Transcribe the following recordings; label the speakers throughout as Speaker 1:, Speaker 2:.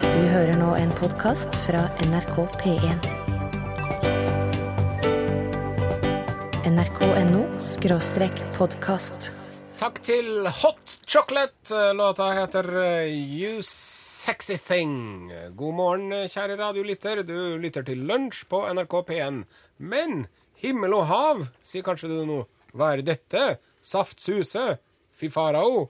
Speaker 1: Du hører nå en podkast fra NRK P1. NRK.no skråstrek podkast.
Speaker 2: Takk til Hot Chocolate. Låta heter eh, You Sexy Thing. God morgen, eh, kjære radiolytter. Du lytter til lunsj på NRK P1. Men himmel og hav, sier kanskje du nå. Hva er dette? Saftsuse? Fy farao?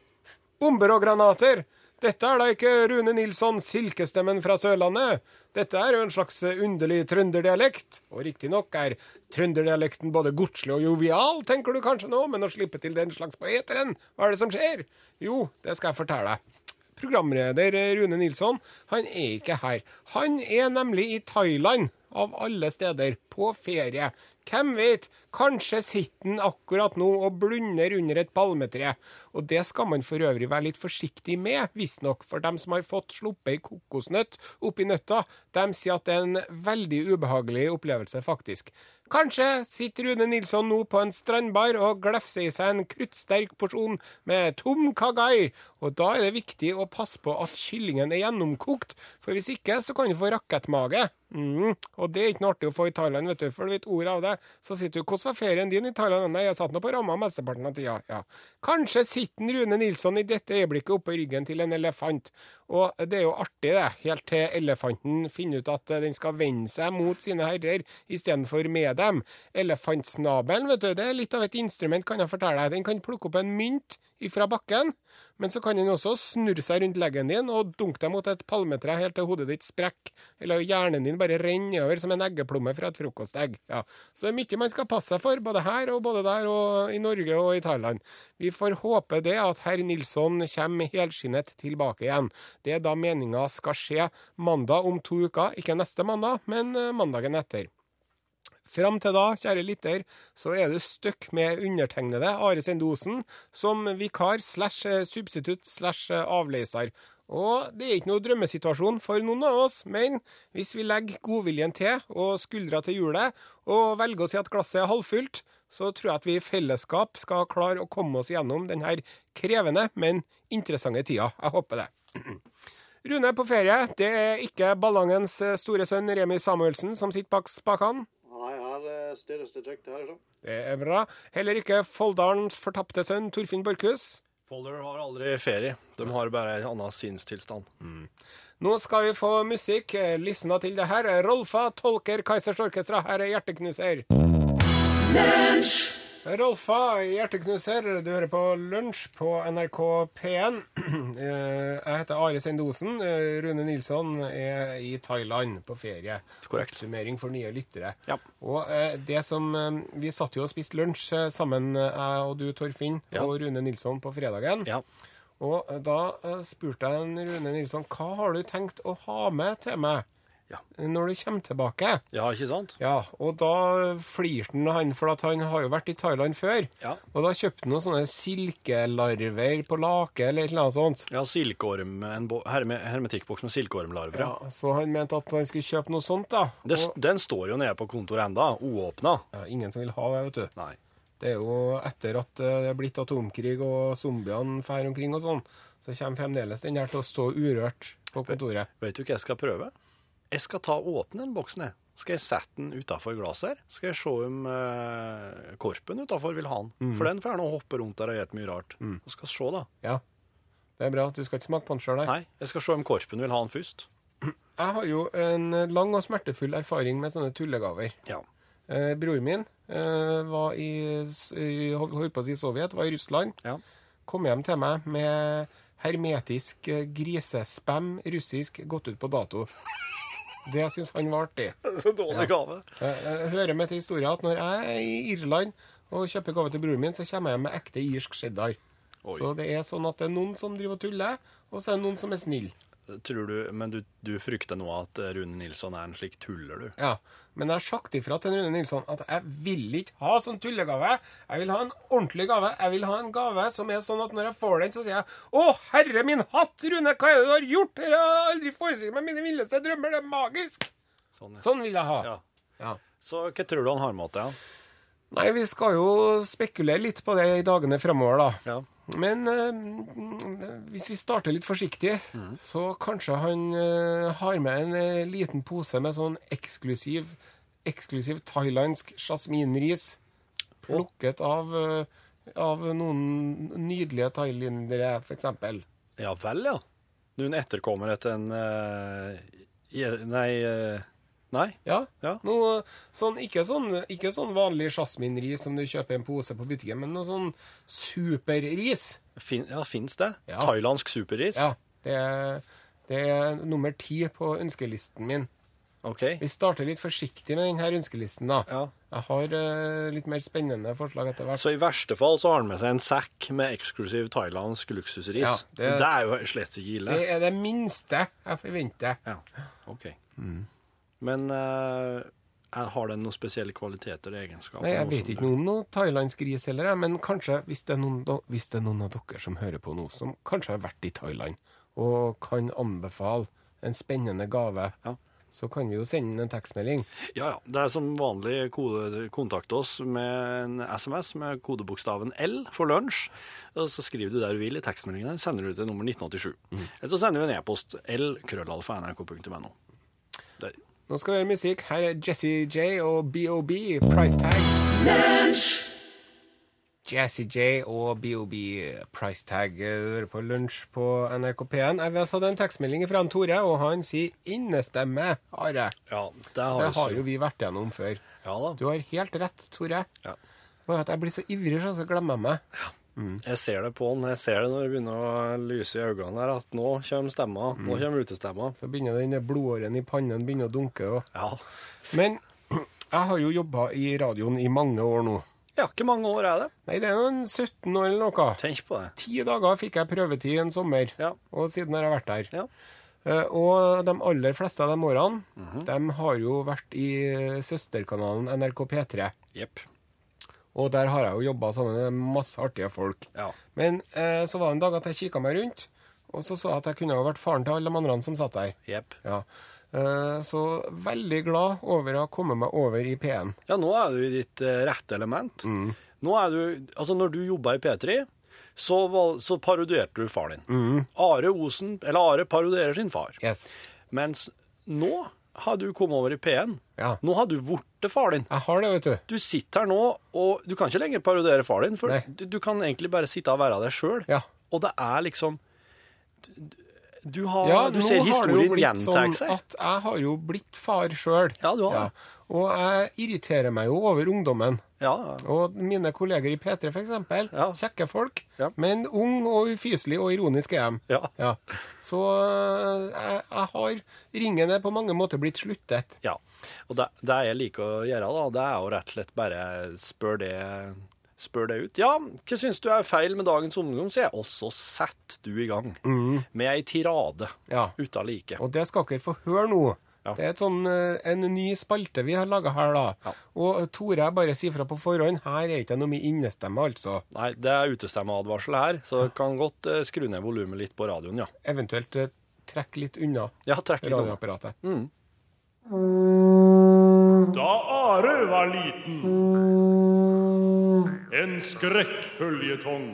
Speaker 2: Bomber og granater? Dette er da ikke Rune Nilsson, silkestemmen fra Sørlandet. Dette er jo en slags underlig trønderdialekt. Og riktignok er trønderdialekten både godslig og jovial, tenker du kanskje nå, men å slippe til den slags på eteren, hva er det som skjer? Jo, det skal jeg fortelle deg. Programleder Rune Nilsson, han er ikke her. Han er nemlig i Thailand, av alle steder, på ferie. Hvem vet, kanskje sitter han akkurat nå og blunder under et palmetre. Og det skal man for øvrig være litt forsiktig med, visstnok, for dem som har fått sluppet ei kokosnøtt oppi nøtta, de sier at det er en veldig ubehagelig opplevelse, faktisk. Kanskje sitter Rune Nilsson nå på en strandbar og glefser i seg en kruttsterk porsjon med tom kagai, og da er det viktig å passe på at kyllingen er gjennomkokt, for hvis ikke så kan du få rakettmage. Mm. Og det er ikke noe artig å få i Thailand, vet du, for du vet ordet av det. Så sitter du Hvordan var ferien din i Thailand? Nei, jeg satt nå på ramma mesteparten av tida. Ja. Kanskje sitter Rune Nilsson i dette øyeblikket oppå ryggen til en elefant, og det er jo artig, det, helt til elefanten finner ut at den skal vende seg mot sine herrer istedenfor med dem. Elefantsnabelen, vet du, det er litt av et instrument, kan jeg fortelle deg. Den kan plukke opp en mynt ifra bakken, men så kan den også snurre seg rundt leggen din og dunke deg mot et palmetre helt til hodet ditt sprekker, eller hjernen din bare renner nedover som en eggeplomme fra et frokostegg. Ja. Så det er mye man skal passe seg for, både her og både der, og i Norge og i Thailand. Vi får håpe det at herr Nilsson kommer helskinnet tilbake igjen. Det er da meninga skal skje mandag om to uker, ikke neste mandag, men eh, mandagen etter. Fram til da, kjære lytter, så er du stuck med undertegnede Are Sendosen som vikar slash eh, substitutt slash eh, avleiser. Og det er ikke noe drømmesituasjon for noen av oss, men hvis vi legger godviljen til og skuldra til hjulet, og velger å si at glasset er halvfullt, så tror jeg at vi i fellesskap skal klare å komme oss gjennom denne krevende, men interessante tida. Jeg håper det. Rune er på ferie. Det er ikke Ballangens eh, store sønn Remi Samuelsen som sitter bak spakene.
Speaker 3: Nei, her eh, styres det trygt. her, liksom.
Speaker 2: Det er bra. Heller ikke Folldalens fortapte sønn Torfinn Borchhus.
Speaker 4: Folder har aldri ferie. De har bare en annen sinnstilstand.
Speaker 2: Nå skal vi få musikk. Lysna til det her. Rolfa tolker Kaizers Orkestra. Her er Hjerteknuser. Rolfa, hjerteknuser, du hører på Lunsj på NRK P1. Eh, Jeg heter Are Sendosen. Eh, Rune Nilsson er i Thailand på ferie.
Speaker 4: Korrekt.
Speaker 2: Oppsummering for nye lyttere.
Speaker 4: Ja.
Speaker 2: Og eh, det som eh, Vi satt jo og spiste lunsj eh, sammen, eh, jeg og du, Torfinn,
Speaker 4: Ja.
Speaker 2: og Rune Nilsson på fredagen.
Speaker 4: Ja.
Speaker 2: Og eh, da eh, spurte jeg en Rune Nilsson hva har du tenkt å ha med til meg
Speaker 4: Ja.
Speaker 2: når du kommer tilbake.
Speaker 4: ja, ikke sant?
Speaker 2: Ja, og da flirte han, han, for at han har jo vært i Thailand før.
Speaker 4: Ja.
Speaker 2: Og da kjøpte han noen sånne silkelarver på lake eller et eller annet sånt.
Speaker 4: Ja, silkeorm, en bo- herme, hermetikkboks med silkeormlarver.
Speaker 2: Ja, så han mente at han skulle kjøpe noe sånt, da.
Speaker 4: Det, s-
Speaker 2: og,
Speaker 4: den står jo nede på kontoret enda, uåpna.
Speaker 2: ja, ingen som vil ha det, vet du.
Speaker 4: Nei.
Speaker 2: Det er jo etter at eh, det er blitt atomkrig og zombiene fer omkring og sånn, så kommer fremdeles den her til å stå urørt på kontoret.
Speaker 4: Vet du hva jeg skal prøve? Jeg skal ta og åpne den boksen, jeg. Skal jeg sette den utafor glasset her? Skal jeg se om eh, korpen utafor vil ha den? For den får gjerne hoppe rundt der og gjøre mye rart. Og skal se, da.
Speaker 2: Ja. Det er bra at du skal ikke smake på den sjøl,
Speaker 4: Nei, jeg skal se om korpen vil ha den først.
Speaker 2: Jeg har jo en lang og smertefull erfaring med sånne tullegaver.
Speaker 4: Ja.
Speaker 2: Eh, bror min eh, var i, s- i hold- holdt på å si Sovjet, var i Russland.
Speaker 4: ja.
Speaker 2: Kom hjem til meg med hermetisk eh, grisespam, russisk, gått ut på dato. Det syns han var artig.
Speaker 4: Så dårlig gave.
Speaker 2: Jeg, jeg hører med til historien at når jeg er i Irland og kjøper gave til broren min, så kommer jeg med ekte irsk cheddar.
Speaker 4: Oi.
Speaker 2: Så det er sånn at det er noen som driver og tuller, og så er det noen som er snill.
Speaker 4: Tror du, men du, du frykter nå at
Speaker 5: eh,
Speaker 4: Rune Nilsson er en slik tuller, du?
Speaker 2: Ja, Men jeg har sagt ifra til Rune Nilsson at jeg vil ikke ha sånn tullegave. Jeg vil ha en ordentlig gave. Jeg vil ha en gave som er sånn at når jeg får den, så sier jeg Å, herre min hatt, Rune, hva er det du har gjort? Dette har jeg aldri forestilt meg mine villeste drømmer. Det er magisk.
Speaker 4: Sånn, ja.
Speaker 2: Sånn vil jeg ha.
Speaker 4: ja.
Speaker 2: Ja.
Speaker 4: Så hva tror du han har med seg?
Speaker 2: Nei, vi skal jo spekulere litt på det i dagene framover, da.
Speaker 4: Ja.
Speaker 2: Men eh, hvis vi starter litt forsiktig, så kanskje han eh, har med en eh, liten pose med sånn eksklusiv, eksklusiv thailandsk jasminris plukket av, eh, av noen nydelige thailendere, f.eks.
Speaker 5: Ja vel, ja. Du er en etterkommer etter en eh, je- Nei. eh, nei.
Speaker 2: Ja.
Speaker 5: Ja.
Speaker 2: Noe, sånn, ikke, sånn, ikke sånn vanlig jasminris som du kjøper i en pose på butikken, men noe sånn superris.
Speaker 5: Fin, ja, fins det?
Speaker 2: Ja.
Speaker 5: Thailandsk superris?
Speaker 2: Ja, det er, det er nummer ti på ønskelisten min.
Speaker 5: OK.
Speaker 2: Vi starter litt forsiktig med denne ønskelisten, da.
Speaker 5: Ja.
Speaker 2: Jeg har eh, litt mer spennende forslag etter hvert.
Speaker 5: Så i verste fall så har han med seg en sekk med eksklusiv thailandsk luksusris.
Speaker 2: Ja,
Speaker 5: det...
Speaker 2: det-
Speaker 5: er jo slett ikke ille.
Speaker 2: Det er det minste jeg forventer.
Speaker 5: Ja, OK.
Speaker 2: Mm.
Speaker 5: Men eh, er- har den noen spesielle kvaliteter og egenskaper?
Speaker 2: Nei, Jeg
Speaker 5: Noe
Speaker 2: vet
Speaker 5: som-
Speaker 2: ikke noe om noe thailandsk ris heller, jeg, men kanskje hvis det, er noen, da- hvis det er noen av dere som hører på nå, som kanskje har vært i Thailand og kan anbefale en spennende gave,
Speaker 5: Ja.
Speaker 2: så kan vi jo sende inn en tekstmelding.
Speaker 5: Ja, ja. Det er som vanlig kode, kontakt oss med en SMS med kodebokstaven L for lunsj. Og så skriver du der du vil i tekstmeldingen. din, Sender du til nummer 1987. Eller så sender du en e-post lkrøllalfa.nrk.no. Der.
Speaker 2: Nå skal vi høre musikk. Her er Jesse J og BOB, Price Tag. Jesse J og BOB, Price Tag, eh, du hører på lunsj på NRK P1. Jeg har fått en tekstmelding fra han Tore, og han sier innestemme, Are.
Speaker 5: Ja, det har,
Speaker 2: Det
Speaker 5: vi-
Speaker 2: har jo vi vært gjennom før.
Speaker 5: Ja da.
Speaker 2: Du har helt rett, Tore.
Speaker 5: Ja.
Speaker 2: Bare at jeg blir så ivrig, så jeg glemmer jeg meg.
Speaker 5: Jeg ser det på han. Jeg ser det når det begynner å lyse i øynene her, at nå kommer stemma. Nå kommer utestemma.
Speaker 2: Så begynner den der blodåren i pannen begynner å dunke. Og.
Speaker 5: Ja.
Speaker 2: Men jeg har jo jobba i radioen i mange år nå.
Speaker 5: ja, ikke mange år er det.
Speaker 2: Nei, det er noen 17 år eller noe.
Speaker 5: Tenk på det.
Speaker 2: Ti dager fikk jeg prøvetid en sommer,
Speaker 5: Ja.
Speaker 2: og siden har jeg vært der.
Speaker 5: Ja.
Speaker 2: Eh, Og de aller fleste av de årene,
Speaker 5: Mhm.
Speaker 2: de har jo vært i søsterkanalen NRK P3.
Speaker 5: Jepp.
Speaker 2: Og der har jeg jo jobba sammen med masse artige folk.
Speaker 5: Ja.
Speaker 2: Men eh, så var det en dag at jeg kikka meg rundt, og så så jeg at jeg kunne ha vært faren til alle de andre som satt der.
Speaker 5: Jepp.
Speaker 2: Ja. Eh, så veldig glad over å ha kommet meg over i P1.
Speaker 5: Ja, nå er du i ditt eh, rette element.
Speaker 2: Mm.
Speaker 5: Nå er du, altså når du jobba i P3, så, var, så parodierte du far din.
Speaker 2: Mm.
Speaker 5: Are Osen, eller Are parodierer sin far.
Speaker 2: Yes.
Speaker 5: Mens nå har du kommet over i P1.
Speaker 2: Ja.
Speaker 5: Nå har du blitt far din.
Speaker 2: Jeg har det, vet du.
Speaker 5: Du sitter her nå, og du kan ikke lenger parodiere far din, for
Speaker 2: Nei.
Speaker 5: du, du kan egentlig bare sitte og være deg sjøl.
Speaker 2: Ja.
Speaker 5: Og det er liksom Du, har,
Speaker 2: Ja,
Speaker 5: du
Speaker 2: nå
Speaker 5: ser
Speaker 2: har det jo
Speaker 5: historien
Speaker 2: blitt
Speaker 5: gjenta
Speaker 2: sånn
Speaker 5: seg.
Speaker 2: At jeg har jo blitt far sjøl.
Speaker 5: Ja, du har det.
Speaker 2: Og jeg irriterer meg jo over ungdommen.
Speaker 5: Ja,
Speaker 2: Og mine kolleger i P3, for eksempel.
Speaker 5: Ja.
Speaker 2: Kjekke folk.
Speaker 5: Ja.
Speaker 2: Men ung og ufyselig og ironisk er de.
Speaker 5: Ja.
Speaker 2: Så øh, jeg, jeg har ringen er på mange måter blitt sluttet.
Speaker 5: Ja. Og det, det jeg liker å gjøre, da, det er jo rett og slett bare spør det, spør det ut. Ja, hva syns du er feil med dagens ungdom, sier jeg. Og så setter du i gang med ei tirade
Speaker 2: Ja.
Speaker 5: uten like.
Speaker 2: Og det skal dere få høre nå.
Speaker 5: Ja.
Speaker 2: Det er et sånn, øh, en ny spalte vi har laga her, da.
Speaker 5: Ja.
Speaker 2: Og eh, Tore, jeg bare sier fra på forhånd, her er ikke noe mye innestemme, altså.
Speaker 5: Nei, det er utestemmeadvarsel her, så du kan godt eh, skru ned volumet litt på radioen, ja.
Speaker 2: Eventuelt øh, trekk litt unna
Speaker 5: Ja, trekk litt unna.
Speaker 2: radioapparatet.
Speaker 6: Da Are var liten. En skrekkføljetong.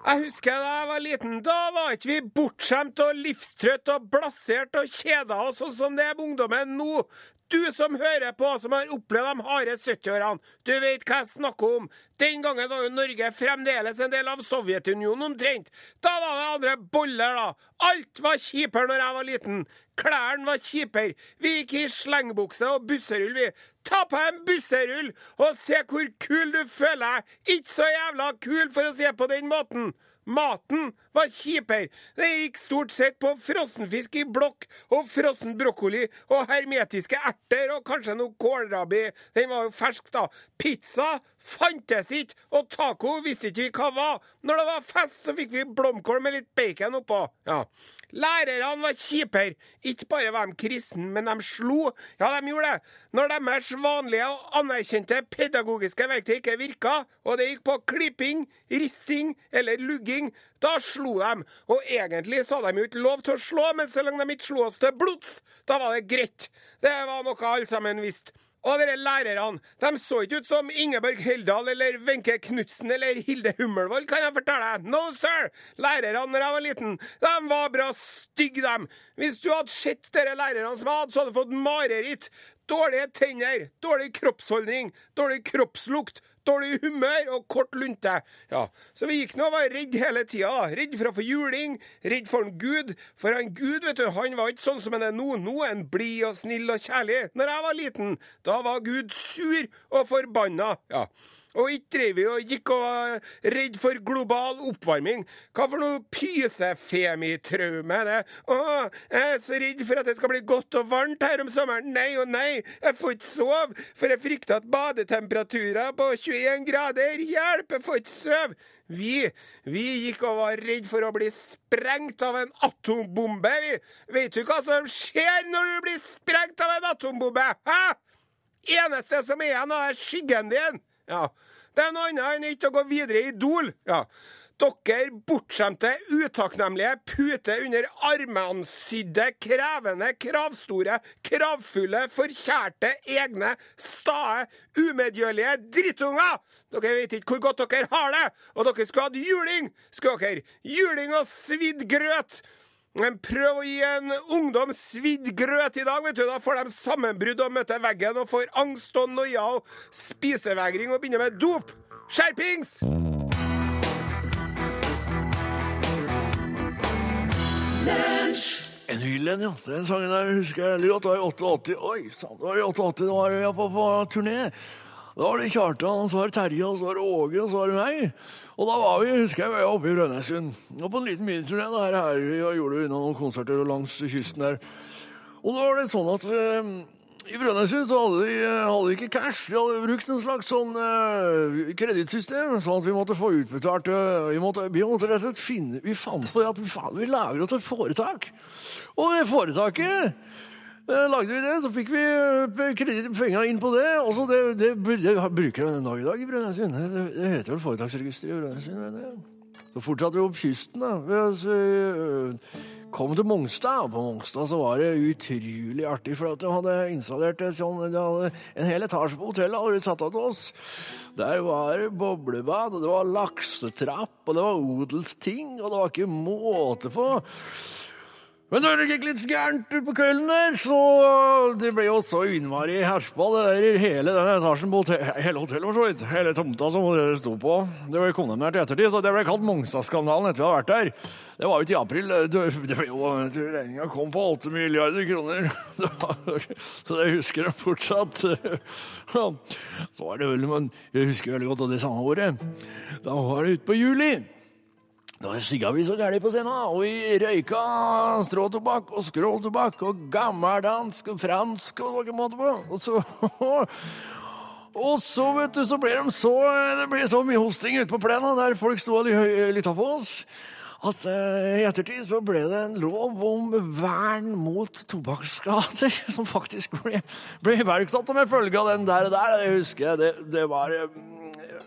Speaker 2: Jeg husker da jeg var liten. Da var ikke vi bortskjemt og livstrøtt og blasert og kjeda oss sånn som det er med ungdommen nå. Du som hører på, som har opplevd de harde 70-årene, du vet hva jeg snakker om. Den gangen var jo Norge fremdeles en del av Sovjetunionen omtrent. Da var det andre boller, da. Alt var kjipere når jeg var liten. Klærne var kjipere. Vi gikk i slengbukse og busserull, vi. Ta på deg en busserull og se hvor kul du føler deg. Ikke så jævla kul for å se på den måten. Maten var kjipere. Det gikk stort sett på frossenfisk i blokk og frossen brokkoli og hermetiske erter og kanskje noe kålrabi. Den var jo fersk, da. Pizza fantes ikke, og taco visste ikke vi hva var. Når det var fest, så fikk vi blomkål med litt bacon oppå. Ja. Lærerne var kjipere. Ikke bare var de kristne, men de slo. Ja, de gjorde det. Når deres vanlige og anerkjente pedagogiske verktøy ikke virka, og det gikk på klipping, risting eller lugging, da slo de. Og egentlig så hadde de jo ikke lov til å slå, men så lenge de ikke slo oss til blods, da var det greit. Det var noe alle sammen visste. Og dere lærerne, de så ikke ut som Ingeborg Heldal eller Wenche Knutsen eller Hilde Hummelvold, kan jeg fortelle deg. No, sir! Lærerne da jeg var liten, de var bra stygge, dem. Hvis du hadde sett dere lærerne som jeg hadde, så hadde du fått mareritt. Dårlige tenner, dårlig kroppsholdning, dårlig kroppslukt, dårlig humør og kort lunte. Ja, Så vi gikk nå og var redd hele tida. Redd for å få juling, redd for en gud. For en gud, vet du, han var ikke sånn som han er nå. Nå er han blid og snill og kjærlig. Når jeg var liten, da var Gud sur og forbanna. Ja. Og ikke drev vi og gikk og var redd for global oppvarming. Hva for noe pysefemitraume er det? Å, jeg er så redd for at det skal bli godt og varmt her om sommeren. Nei og nei, jeg får ikke sove, for jeg frykter at badetemperaturer på 21 grader Hjelp, jeg får ikke sove! Vi, vi gikk og var redd for å bli sprengt av en atombombe, vi. Vet du hva som skjer når du blir sprengt av en atombombe? Hæ? Eneste som er igjen, er skyggen din. Ja. Det er noe annet enn ikke å gå videre i Idol. Ja. Dere bortskjemte, utakknemlige, pute under armene sydde, krevende, kravstore, kravfulle, forkjærte, egne, stae, umedgjørlige drittunger! Dere vet ikke hvor godt dere har det! Og dere skulle hatt juling! Skulle dere juling og svidd grøt! Men prøv å gi en ungdom svidd grøt i dag, vet du. Da får de sammenbrudd og møter veggen og får angst og noia og spisevegring og begynner med dop. Skjerpings!
Speaker 7: En hyll en, ja. Den sangen der husker jeg veldig godt. Det var i 88. Oi, sann, det var i 88. Da var jeg på, på turné. Da var det Kjartan, og så var det Terje, og så var det Åge, og så var det meg. Og da var vi, husker jeg, vi var oppe i Brønnøysund. Og på en liten miniturné da, her, her vi og gjorde vi unna noen konserter og langs kysten der. Og da var det sånn at eh, i Brønnøysund så hadde de, eh, hadde de ikke cash. De hadde brukt en slags sånn eh, kredittsystem, sånn at vi måtte få utbetalt eh, Vi måtte, vi måtte rett og slett finne Vi fant på det at vi, faen, vi lager oss et foretak. Og det foretaket eh, Lagde vi det, så fikk vi eh, kreditt penga inn på det. Og så det, det, det bruker vi den dag i dag i Brønnøysund. Det, det heter vel Foretaksregisteret i Brønnøysund. mener jeg. Så fortsatte vi opp kysten. da. Vi altså, øh, kom til Mongstad, og på Mongstad så var det utrolig artig. For at de hadde installert et sånn, de hadde en hel etasje på hotellet hadde de satt av til oss. Der var det boblebad, og det var laksetrapp, og det var odelsting, og det var ikke måte på. Men når det gikk litt gærent ut på kvelden der, så øh, det ble jo så innmari herpa, det der i hele den etasjen på hotell, hele hotellet, for så vidt. Hele tomta som det sto på. Det ble kondemnert i ettertid, så det ble kalt Mongstadskandalen etter vi hadde vært der. Det var jo til april. Det, det ble jo, regninga kom på 8 milliarder kroner. Det var, så det husker jeg fortsatt. Ja, Så var det vel, men jeg husker veldig godt at det samme året. Da var det utpå juli. Da sigga vi så gærent på scenen, og vi røyka stråtobakk og skråltobakk og gammeldansk og fransk og noe måte på. Og så Og så, vet du, så ble de så Det ble så mye hosting ute på plenen der folk sto og ly- lytta på oss, at eh, i ettertid så ble det en lov om vern mot tobakksskader som faktisk ble, ble iverksatt som en følge av den der og der. Det husker jeg. Det, det var eh,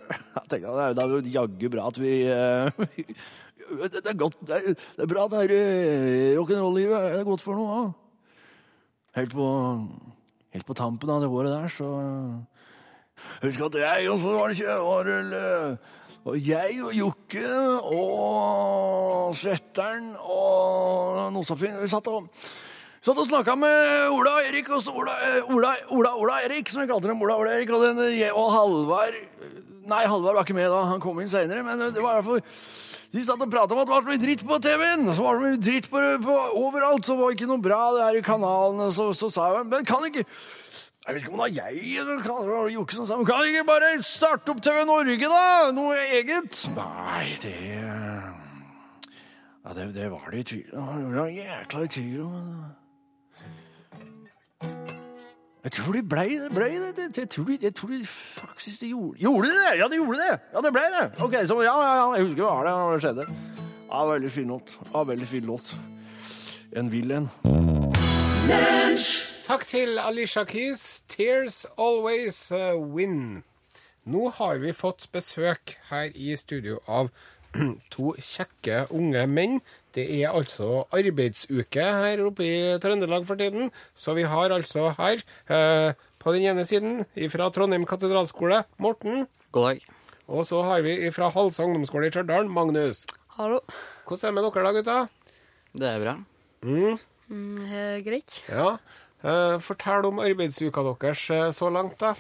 Speaker 7: Jeg tenkte at det er jo jaggu bra at vi eh, det, det er godt det er, det er bra at det her, eh, rock'n'roll-livet er godt for noe. da. Helt på, helt på tampen av det året der, så Husk at jeg også var det ikke var vel, eh, Og jeg og Jokke og Svetteren og Nosafin Vi satt og satt og snakka med Ola og Erik, og så Ola, eh, Ola, Ola, Ola Erik, som vi kalte dem. Ola, Ola Erik, og, den, eh, og Halvard Nei, Halvard var ikke med da, han kom inn seinere, men det var i hvert fall de satt og prata om at det var så mye dritt på TV-en! Så var det så mye dritt på, på overalt, så var det ikke noe bra det her i kanalen. Så, så sa jeg men kan ikke jeg vet ikke om det var jeg eller kan- det var Jokke som sa men Kan ikke bare starte opp TV Norge, da? Noe eget? Nei, det Ja, det, det var det i tvil Det var det jækla i tvil om. Jeg tror de blei det. Blei det. det, det jeg, tror de, jeg tror de faktisk de gjorde Gjorde de det? Ja, de gjorde det! Ja, det blei det! Ok, så ja, ja, ja, jeg husker hva det var det skjedde. Ja, veldig fin låt. Ja, veldig fin låt. En vill en.
Speaker 2: Takk til Alicia Keys. 'Tears Always eh, Win'. Nå har vi fått besøk her i studio av to kjekke unge menn. Det er altså arbeidsuke her oppe i Trøndelag for tiden, så vi har altså her, eh, på den ene siden, fra Trondheim katedralskole, Morten.
Speaker 8: God dag.
Speaker 2: Og så har vi fra Halsa ungdomsskole i Stjørdal, Magnus.
Speaker 9: Hallo.
Speaker 2: Hvordan er det med dere da, gutta?
Speaker 8: Det er bra.
Speaker 2: Mm.
Speaker 9: Mm, eh, greit.
Speaker 2: Ja. Eh, fortell om arbeidsuka deres eh, så langt, da.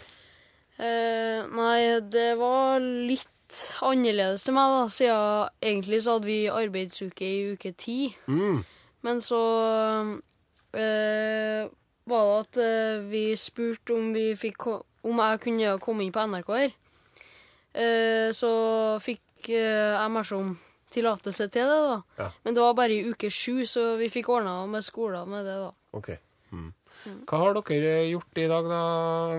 Speaker 9: Eh, nei, det var litt annerledes til meg, da, siden egentlig så hadde vi arbeidsuke i uke ti.
Speaker 2: Mm.
Speaker 9: Men så eh, var det at eh, vi spurte om, vi fikk, ko- om jeg kunne komme inn på NRK her. Eh, så fikk eh, jeg meg som tillatelse til det, da.
Speaker 2: Ja.
Speaker 9: Men det var bare i uke sju, så vi fikk ordna med skolen med det, da.
Speaker 2: Ok. Hva har dere gjort i dag, da,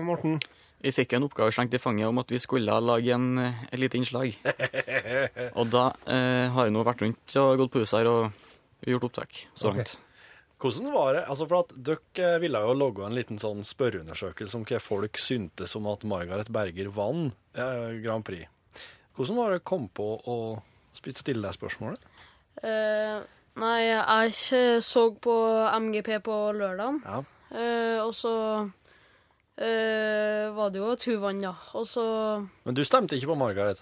Speaker 2: Morten?
Speaker 8: Vi fikk en oppgave slengt i fanget om at vi skulle lage en, eh, et lite innslag. Og da eh, har jeg nå vært rundt og gått på huset her og gjort opptak så
Speaker 2: Ok.
Speaker 8: langt.
Speaker 5: Hvordan var det? Altså for at Dere ville jo logge en liten sånn spørreundersøkelse om hva folk syntes om at Margaret Berger vant eh, Grand Prix. Hvordan var det å komme på å sp- stille deg spørsmålet?
Speaker 9: Eh, nei, jeg ikke så på MGP på lørdagen.
Speaker 5: Ja.
Speaker 9: Eh, og så eh, var det jo at hun vant, da. Og så
Speaker 5: Men du stemte ikke på Margaret.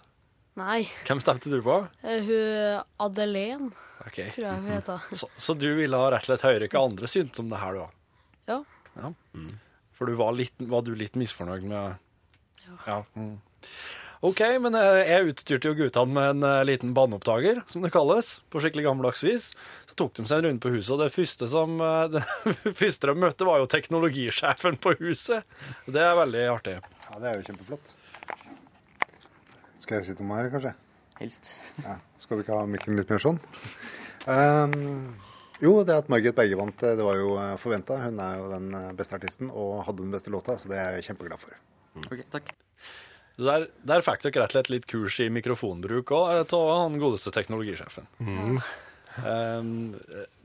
Speaker 9: Nei,
Speaker 5: Hvem stemte du på?
Speaker 9: eh, hun Adelén,
Speaker 5: Ok.
Speaker 9: tror jeg hun heter.
Speaker 5: Så, så du ville ha rett og slett høre hva andre syntes om det her, du?
Speaker 9: Ja.
Speaker 5: ja. For du var, litt, var du litt misfornøyd med Ja. Mm. OK, men eh, jeg utstyrte jo guttene med en eh, liten banneopptaker, som det kalles, på skikkelig gammeldags vis. Så tok de seg en runde på huset, og det første, som, eh, det første de møtte, var jo teknologisjefen på huset. Det er veldig artig.
Speaker 10: Ja, det er jo kjempeflott. Skal jeg sitte om her, kanskje?
Speaker 8: Helst.
Speaker 10: Ja. Skal du ikke ha mikken litt mer sånn? Ehm, jo, det at Margaret Berge vant, eh, det var jo forventa. Hun er jo den eh, beste artisten og hadde den beste låta, så det er jeg kjempeglad for.
Speaker 8: Ok, takk.
Speaker 5: Så Der, der fikk dere rett og slett litt kurs i mikrofonbruk òg, av han godeste teknologisjefen. Um,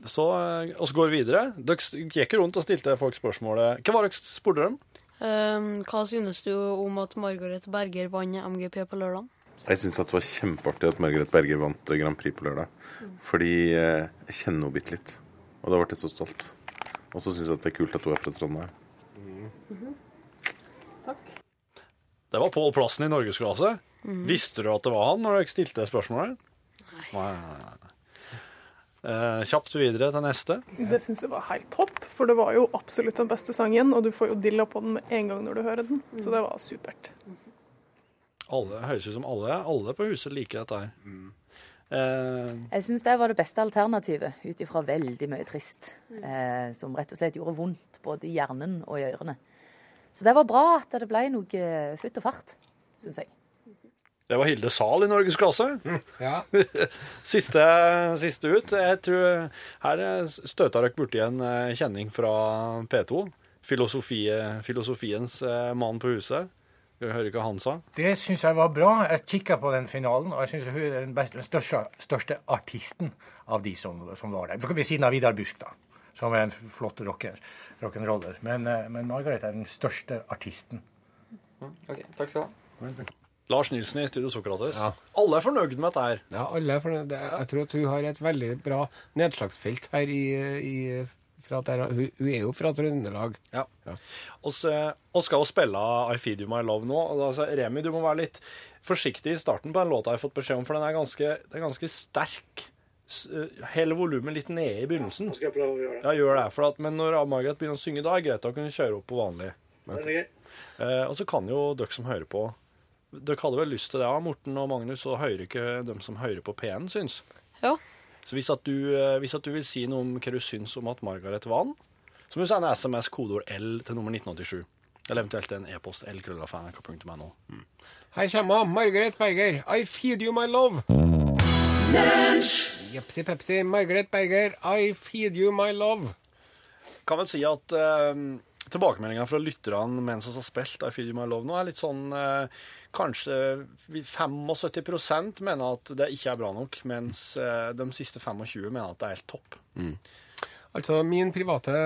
Speaker 5: så eh, oss går videre. Dere s- gikk rundt og stilte folk spørsmålet Hva var det dere spurte dem?
Speaker 9: Eh, hva synes du om at Margaret Berger vant MGP på lørdagen?
Speaker 6: Jeg syns det var kjempeartig at Margaret Berger vant Grand Prix på lørdag. Fordi eh, jeg kjenner henne bitte litt. Og da ble jeg så stolt. Og så syns jeg at det er kult at hun er fra Trondheim.
Speaker 5: Det var Pål Plassen i norgesklasse. Visste du at det var han når dere stilte spørsmålet? Nei. nei, nei, nei. Eh, kjapt videre til neste.
Speaker 11: Det syns jeg var helt topp, for det var jo absolutt den beste sangen, og du får jo dilla på den med en gang når du hører den, så det var supert.
Speaker 5: Alle høres ut som alle. Alle på huset liker dette her. Eh,
Speaker 1: Jeg syns det var det beste alternativet, ut ifra veldig mye trist. Eh, som rett og slett gjorde vondt både i hjernen og i ørene. Så det var bra at det ble noe eh, futt og fart, syns jeg.
Speaker 5: det var Hilde Zahl i norgesklasse.
Speaker 2: Ja.
Speaker 5: Siste, siste ut. Jeg tror Her støta dere borti en eh, kjenning fra P2. Filosofi, filosofiens eh, mann på huset. Skal vi høre hva han sa?
Speaker 7: Det syns jeg var bra. Jeg kikka på den finalen, og jeg syns hun er den, best, den største, største artisten av de som, som var der. Ved siden av Vidar Busk, da, som er en flott rocker, rock'n'roller. Men, eh, men Margaret er den største artisten.
Speaker 8: Ok, takk skal du ha.
Speaker 5: Lars Nilsen i Studio Sokrates. Alle er fornøyd med dette her.
Speaker 2: Ja, alle er fornøyd. Det- Jeg tror at hun har et veldig bra nedslagsfelt her i, i fra der, hun, hun er jo fra Trøndelag.
Speaker 5: Ja. Og så- og skal jo spille I Feed You My Love nå. Og da, sa jeg, Remi, du må være litt forsiktig i starten på den låta jeg har fått beskjed om, for den er ganske, den er ganske sterk. S- eh, Hell volumet litt nede i begynnelsen.
Speaker 12: Nå skal jeg prøve å gjøre det.
Speaker 5: Ja, gjør det. For at, men når Margaret begynner å synge, da er det greit å kunne kjøre opp på vanlig.
Speaker 12: Er det gøy?
Speaker 5: Eh, og så kan jo dere som hører på Dere hadde vel lyst til det, ja, Morten og Magnus, og hører ikke dem som hører på P1, syns.
Speaker 9: Ja.
Speaker 5: Så hvis at, du, eh, hvis at du vil si noe om hva du syns om at Margaret vant, så må du sende SMS kodeord L til nummer 1987. Eller eventuelt en e-post lkrøllafan.no.
Speaker 2: Her kommer hun, Margaret Berger, I feed you my love. Jepsi pepsi, Margaret Berger, I feed you my love.
Speaker 5: Kan vel si at eh, tilbakemeldinga fra lytterne mens vi har spilt I Feel You My Love nå, er litt sånn eh, Kanskje vi- 75 mener at det ikke er bra nok, mens eh, de siste 25 mener at det er helt topp.
Speaker 2: Altså, Min private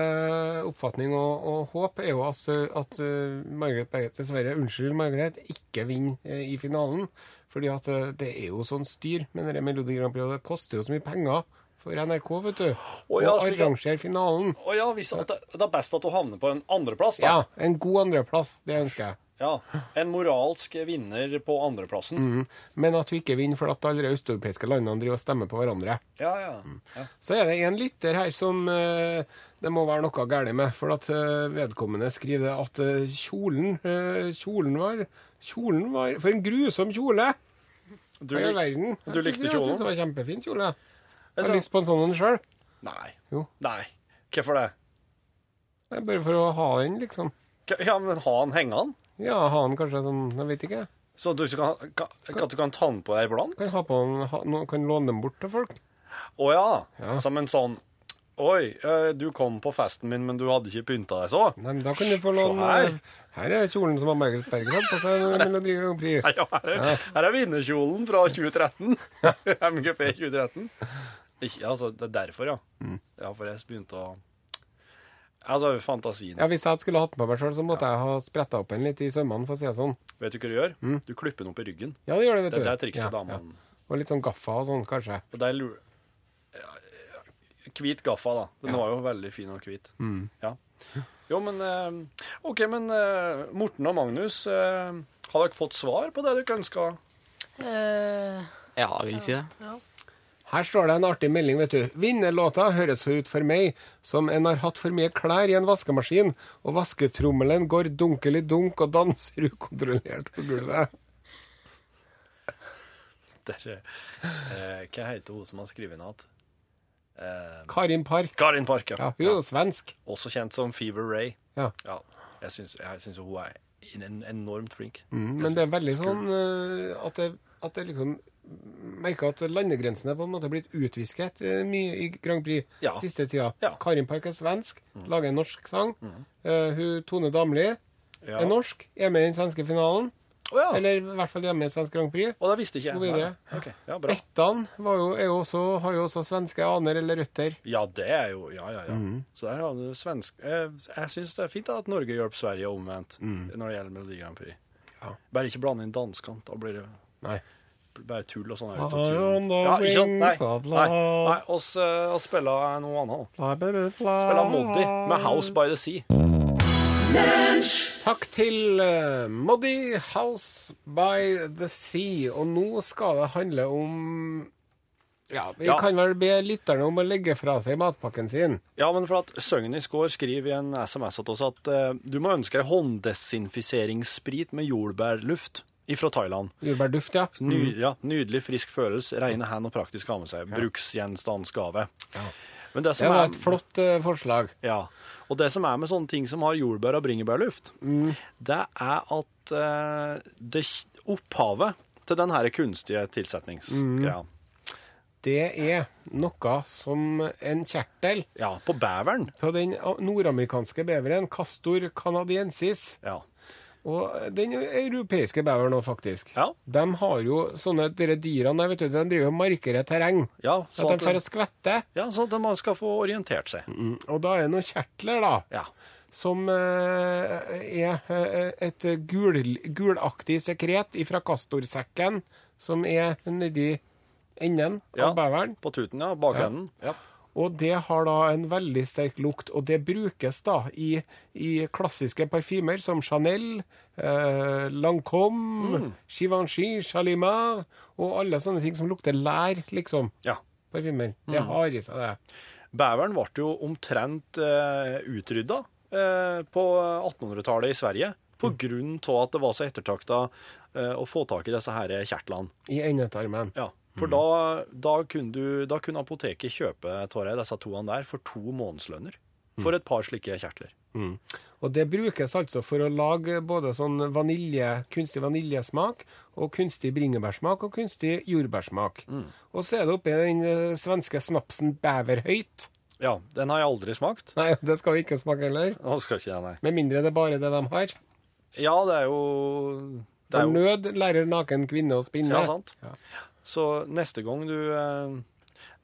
Speaker 2: oppfatning og, og håp er jo at, at eh, Margaret Berget, dessverre, unnskyld Margaret, ikke vinner eh, i finalen. Fordi at eh, det er jo sånn styr med denne Melodi Grand Prix, og det koster jo så mye penger for NRK, vet du.
Speaker 5: Å ja,
Speaker 2: og
Speaker 5: slik, ja.
Speaker 2: arrangere finalen.
Speaker 5: Å ja, hvis at det, det er best at du havner på en andreplass, da.
Speaker 2: Ja, en god andreplass. Det ønsker jeg.
Speaker 5: Ja, En moralsk vinner på andreplassen.
Speaker 2: Mhm. Men at vi ikke vinner fordi at alle de østeuropeiske landene driver og stemmer på hverandre.
Speaker 5: Ja, ja. ja.
Speaker 2: Så er det en lytter her som eh, det må være noe galt med, for at eh, vedkommende skriver at eh, kjolen eh, Kjolen var Kjolen var For en grusom kjole!
Speaker 5: Du-
Speaker 2: Hva i all verden?
Speaker 5: du
Speaker 2: Jeg synes-
Speaker 5: likte
Speaker 2: Jeg
Speaker 5: kjolen?
Speaker 2: syns det var kjempefin kjole. Jeg
Speaker 5: Altså-
Speaker 2: har lyst på en sånn en sjøl.
Speaker 5: Nei.
Speaker 2: Jo.
Speaker 5: Nei. Hvorfor det?
Speaker 2: Det er Bare for å ha den, liksom.
Speaker 5: K- Ja, men ha den hengende.
Speaker 2: Ja, ha den kanskje sånn Jeg vet ikke.
Speaker 5: Så at du ikke kan, ka- at du kan ta den på deg iblant?
Speaker 2: Kan, ha på den, ha, no, kan låne den bort til folk.
Speaker 5: Å ja. Som en sånn Oi, eh, du kom på festen min, men du hadde ikke pynta deg så.
Speaker 2: Nei, men Da kan du få låne
Speaker 5: her.
Speaker 2: her er kjolen som har Margaret Berger hatt på seg under Melodi Grand Prix.
Speaker 5: Ja, her er, her er vinnerkjolen fra 2013. MGP 2013. Ikke, altså, det er derfor, ja.
Speaker 2: Mm.
Speaker 5: Ja, for jeg begynte å Altså, fantasien.
Speaker 2: Ja, Hvis jeg skulle hatt den på meg sjøl, så måtte jeg ha spretta opp den litt i sømmene, for å si det sånn.
Speaker 5: Vet du hva du gjør? Du klipper den opp i ryggen.
Speaker 2: Ja, det gjør det, vet
Speaker 5: Det-
Speaker 2: du.
Speaker 5: det er trikset
Speaker 2: ja,
Speaker 5: damene.
Speaker 2: Ja. Og litt sånn gaffa og sånn, kanskje.
Speaker 5: Og der lurer Hvit gaffa, da. Den var jo veldig fin og hvit.
Speaker 2: Mm.
Speaker 5: Ja. Jo, men eh, OK, men eh, Morten og Magnus, eh, har dere fått svar på det dere ønska?
Speaker 9: Eh,
Speaker 2: Ja, vil si det.
Speaker 9: ja.
Speaker 2: Her står det en artig melding, vet du. Vinnerlåta høres ut for meg som en har hatt for mye klær i en vaskemaskin, og vasketrommelen går dunkelig dunk og danser ukontrollert på gulvet.
Speaker 5: Dere, eh, hva heter hun som har skrevet den igjen? Eh,
Speaker 2: Karin Park.
Speaker 5: Karin Park, ja.
Speaker 2: Ja, hun er jo svensk.
Speaker 5: Også kjent som Fever Ray.
Speaker 2: Ja.
Speaker 5: Jeg syns jeg syns hun er en- enormt flink.
Speaker 2: Mm,
Speaker 5: Jeg
Speaker 2: men
Speaker 5: syns-
Speaker 2: det er veldig
Speaker 5: Skru-
Speaker 2: sånn eh, at det, at det liksom Merker at landegrensene på en måte er blitt utvisket eh, mye i Grand Prix
Speaker 5: Ja. Mm.
Speaker 2: siste tida. Karin Park er svensk, lager en norsk sang. Eh, hun Tone Damli
Speaker 5: Ja.
Speaker 2: er norsk, er med i den svenske finalen.
Speaker 5: Å ja.
Speaker 2: Eller i hvert fall er med i svensk Grand Prix.
Speaker 5: Og det visste ikke jeg.
Speaker 2: Gå videre.
Speaker 5: Nei. Ok, ja, bra.
Speaker 2: Bettan var jo, er jo også, har jo også svenske aner eller røtter.
Speaker 5: Ja, det er jo Ja, ja, ja.
Speaker 2: Mhm.
Speaker 5: Så der har du svensk eh, Jeg syns det er fint da, at Norge hjelper Sverige omvendt
Speaker 2: Mhm.
Speaker 5: når det gjelder Melodi Grand Prix.
Speaker 2: Ja.
Speaker 5: Bare ikke blande inn danskene. Da blir det
Speaker 2: Nei.
Speaker 5: bare tull og sånn.
Speaker 2: Ah,
Speaker 5: autotune.
Speaker 2: on the
Speaker 5: Ja, ikke sant? Nei,
Speaker 2: wings of
Speaker 5: nei,
Speaker 2: love.
Speaker 5: nei. oss, eh, oss spiller noe annet.
Speaker 2: Fly,
Speaker 5: da.
Speaker 2: baby, fly.
Speaker 5: Spiller Moddi med House by the Sea.
Speaker 2: Takk til eh, Moddi House by the Sea. Og nå skal det handle om Ja, vi
Speaker 5: Ja.
Speaker 2: kan vel be lytterne om å legge fra seg matpakken sin.
Speaker 5: Ja, men for at Søgni Skaar skriver i en SMS til oss at eh, du må ønske deg hånddesinfiseringssprit med jordbærluft ifra Thailand.
Speaker 2: Jordbærduft, ja.
Speaker 5: Ny, ja, nydelig, frisk følelse, rene hand og praktisk å ha med seg. Bruksgjenstandsgave. Men det, som
Speaker 2: Det var
Speaker 5: er-
Speaker 2: et flott eh, forslag.
Speaker 5: Ja. Og det som er med sånne ting som har jordbær og bringebærluft,
Speaker 2: Mm.
Speaker 5: det er at eh, det opphavet til den her kunstige tilsetningsgreia
Speaker 2: Mm. Det er noe som en kjertel
Speaker 5: Ja, på beveren.
Speaker 2: På den nordamerikanske beveren, castor canadiensis.
Speaker 5: Ja.
Speaker 2: Og eh, den europeiske beveren òg, faktisk.
Speaker 5: Ja.
Speaker 2: De har jo sånne dere dyrene der, vet du, de driver og markerer terreng.
Speaker 5: Ja,
Speaker 2: At de får å skvette.
Speaker 5: Ja, sånn at man skal få orientert seg.
Speaker 2: Mm, Og da er det noen kjertler, da. Som eh, er eh, et gul, gulaktig sekret ifra kastorsekken, som er nedi enden av
Speaker 5: Ja,
Speaker 2: beveren.
Speaker 5: På tuten, ja. Bakenden. Ja.
Speaker 2: Og det har da en veldig sterk lukt, og det brukes da i, i klassiske parfymer som Chanel, eh, Lancôme, Givenchy, Chalimard og alle sånne ting som lukter lær, liksom.
Speaker 5: Ja.
Speaker 2: Parfymer. Det
Speaker 5: Mm.
Speaker 2: har i seg det.
Speaker 5: Beveren ble jo omtrent eh, utrydda eh, på 1800-tallet i Sverige på grunn av at det var så ettertakta eh, å få tak i disse her kjertlene.
Speaker 2: I endetarmen.
Speaker 5: Ja, for da, da, kunne du, da kunne apoteket kjøpe Torre, disse toene der for to månedslønner. For et par slike kjertler.
Speaker 2: Mm. Og det brukes altså for å lage både sånn vanilje, kunstig vaniljesmak, og kunstig bringebærsmak og kunstig jordbærsmak. Og så er det oppi den eh, svenske snapsen beverhøyt.
Speaker 5: Ja, den har jeg aldri smakt.
Speaker 2: Nei, det skal vi ikke smake heller.
Speaker 5: Nå skal ikke jeg, nei.
Speaker 2: Med mindre det er bare det de har.
Speaker 5: Ja, det er jo det
Speaker 2: For
Speaker 5: er jo,
Speaker 2: nød lærer naken kvinne å spinne.
Speaker 5: Ja, sant. Så neste gang du eh,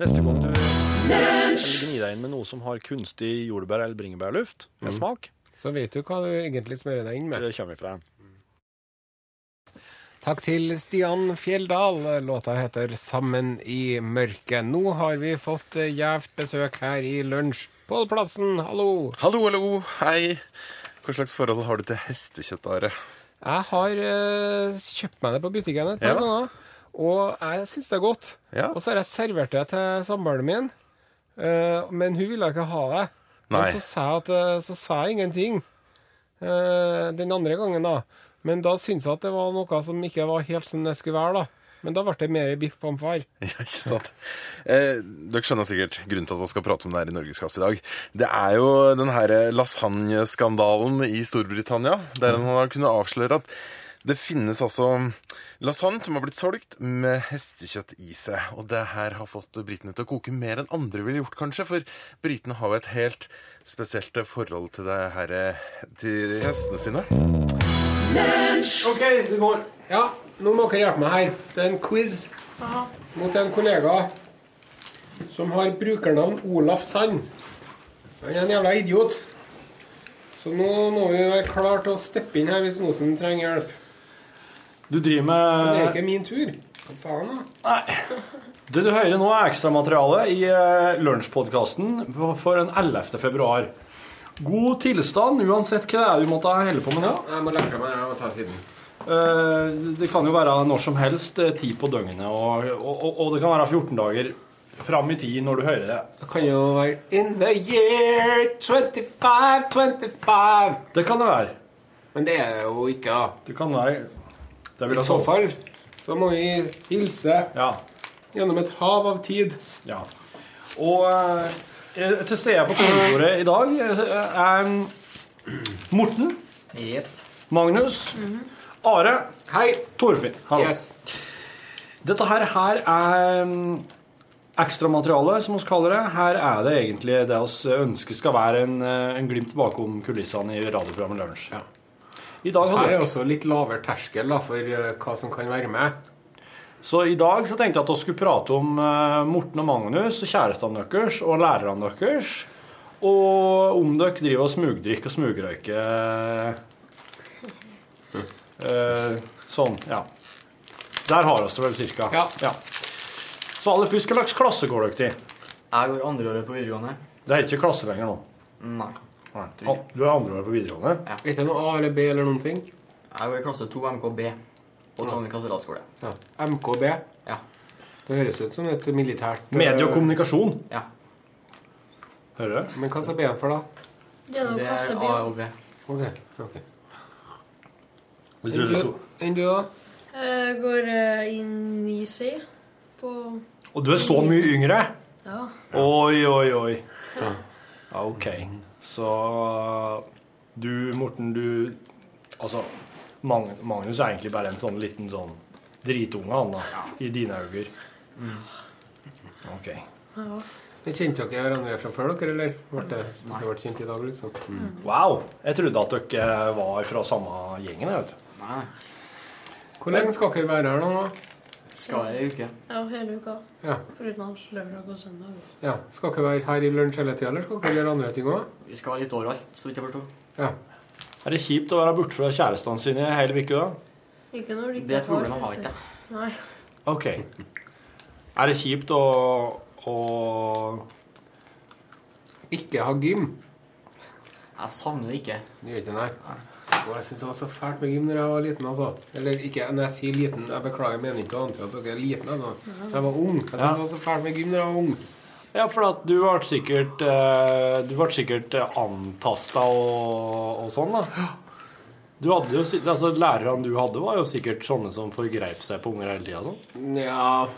Speaker 5: Neste gang du gni deg inn med noe som har kunstig jordbær- eller bringebærluft, med
Speaker 2: Mm.
Speaker 5: smak,
Speaker 2: Så vet du hva du egentlig smører deg inn med.
Speaker 5: det kommer vi fra.
Speaker 2: Takk til Stian Fjelldal. Låta heter 'Sammen i mørket'. Nå har vi fått eh, gjevt besøk her i lunsj. Pål Plassen, hallo.
Speaker 13: Hallo, hallo. Hei. Hva slags forhold har du til hestekjøtt, Are?
Speaker 2: Jeg har eh, kjøpt meg det på butikken et par
Speaker 13: Ja.
Speaker 2: ganger, og jeg syns det er godt.
Speaker 13: Ja.
Speaker 2: Og så har jeg servert det til samboeren min, eh, men hun ville ikke ha det.
Speaker 13: Nei.
Speaker 2: Men så sa jeg, at, eh, så sa jeg ingenting eh, den andre gangen, da. Men da syntes jeg at det var noe som ikke var helt som det skulle være, da. Men da ble det mer biff pommes frites.
Speaker 13: Ja, ikke sant? Eh, dere skjønner sikkert grunnen til at vi skal prate om det her i Norgesklasse i dag. Det er jo den her lasagneskandalen i Storbritannia, der han har kunnet avsløre at det finnes altså lasagne som har blitt solgt med hestekjøtt i seg. Og det her har fått britene til å koke mer enn andre ville gjort, kanskje. For britene har jo et helt spesielt forhold til det her eh, til hestene sine.
Speaker 2: OK, du må Ja, nå må dere hjelpe meg her. Det er en quiz mot en kollega som har brukernavn Olaf Sand. Han er en jævla idiot. Så nå må vi være klare til å steppe inn her hvis Osen trenger hjelp.
Speaker 5: Du driver
Speaker 2: Men det er
Speaker 5: med
Speaker 2: ikke min tur. Hva faen, da?
Speaker 5: Det du hører nå, er ekstramateriale i eh, lunsjpodkasten for- for den 11. februar. God tilstand uansett hva det er du måtte holde på med nå.
Speaker 2: Jeg må legge fra meg. Jeg må ta siden.
Speaker 5: Eh, Det kan jo være når som helst, eh, tid på døgnet, og, og, og- og det kan være 14 dager fram i tid når du hører det.
Speaker 2: Det kan jo være In the year 2525.
Speaker 5: Det kan det være.
Speaker 2: Men det er det jo ikke, da.
Speaker 5: Det kan være. Det
Speaker 2: I
Speaker 5: vil jeg
Speaker 2: så
Speaker 5: tro.
Speaker 2: fall så må vi hilse gjennom et hav av tid.
Speaker 5: Ja. Og eh, til stede på kontoret i dag eh, er eh, Morten, Magnus,
Speaker 2: Mhm.
Speaker 5: Are Hei. Torfinn. Hallo. Dette her, her er mm, ekstramateriale, som vi kaller det. Her er det egentlig det vi ønsker skal være en, eh, en glimt bakom kulissene i radioprogrammet Lunsj. I dag
Speaker 2: Her er
Speaker 5: hadde
Speaker 2: også litt lavere terskel da, for eh, hva som kan være med.
Speaker 5: Så i dag så tenkte jeg at vi skulle prate om eh, Morten og Magnus, og kjærestene deres og lærerne deres. Og om dere driver og smugdrikker og smugrøyker. Eh, sånn, ja. Der har vi det vel cirka. Ja. Så aller først, hva slags klasse går dere til?
Speaker 14: Jeg går andreåret på videregående.
Speaker 5: Det er ikke klasse lenger nå.
Speaker 14: Nei.
Speaker 5: Nei. Du er andreåret på videregående?
Speaker 14: Ja.
Speaker 2: Ikke noe A eller B eller noen ting?
Speaker 14: Jeg går i klasse 2 MKB på Trondheim katedralskole.
Speaker 2: Ja. MKB. Det høres ut som et militært eh,
Speaker 5: Medie og kommunikasjon?
Speaker 14: Ja.
Speaker 5: Eh, Hører
Speaker 2: du? Men hva står B-en for, da?
Speaker 9: Det er da
Speaker 14: Det er
Speaker 9: klasse B.
Speaker 14: A og B.
Speaker 2: Ok, ok.
Speaker 5: Vi tror det
Speaker 2: Enn
Speaker 5: sto-
Speaker 2: du- Enn du òg?
Speaker 9: Jeg går eh, inn i C på
Speaker 5: Og du er så mye yngre?
Speaker 9: Ja.
Speaker 5: Oi, oi, oi. Ja, ok. Så du, Morten, du Altså, Mag- Magnus er egentlig bare en sånn liten sånn dritunge, han da, i dine øyne. Ok.
Speaker 9: Ja.
Speaker 2: Men Kjente dere hverandre fra før, dere, eller? Ble det, dere ble kjent i dag, liksom?
Speaker 5: Wow! Jeg trodde at dere var fra samme gjengen, jeg vet du. Nei.
Speaker 2: Hvor lenge skal dere være her nå?
Speaker 14: Skal være ei uke.
Speaker 9: Ja, hele uka.
Speaker 2: Ja.
Speaker 9: Foruten hans lørdag og søndag.
Speaker 2: Ja. Skal dere være her i lunsj hele tida, eller skal dere gjøre andre ting òg?
Speaker 14: Vi skal være litt overalt, så vidt jeg forstår.
Speaker 5: Er det kjipt å være borte fra kjærestene sine ei hel uke, da?
Speaker 9: Ikke når de ikke
Speaker 14: Det problemet har jeg
Speaker 9: ferie.
Speaker 14: ikke.
Speaker 9: Nei.
Speaker 5: Ok. Er det kjipt å, å
Speaker 2: Ikke ha gym?
Speaker 14: Jeg savner det ikke.
Speaker 2: Det gjør ikke det, nei. Og jeg synes det var så fælt med gym når jeg var liten. altså. Eller ikke, når jeg sier liten, jeg beklager, jeg mener ikke å antyde at dere er liten ennå. Men Jeg var ung. Jeg synes
Speaker 5: Ja.
Speaker 2: det var så fælt med gym når jeg var ung.
Speaker 5: Ja, for at du ble sikkert eh, Du ble sikkert antasta og, og sånn, da. Du hadde jo, si- altså Lærerne du hadde, var jo sikkert sånne som forgreip seg på unger hele tida. Sånn.
Speaker 2: Nja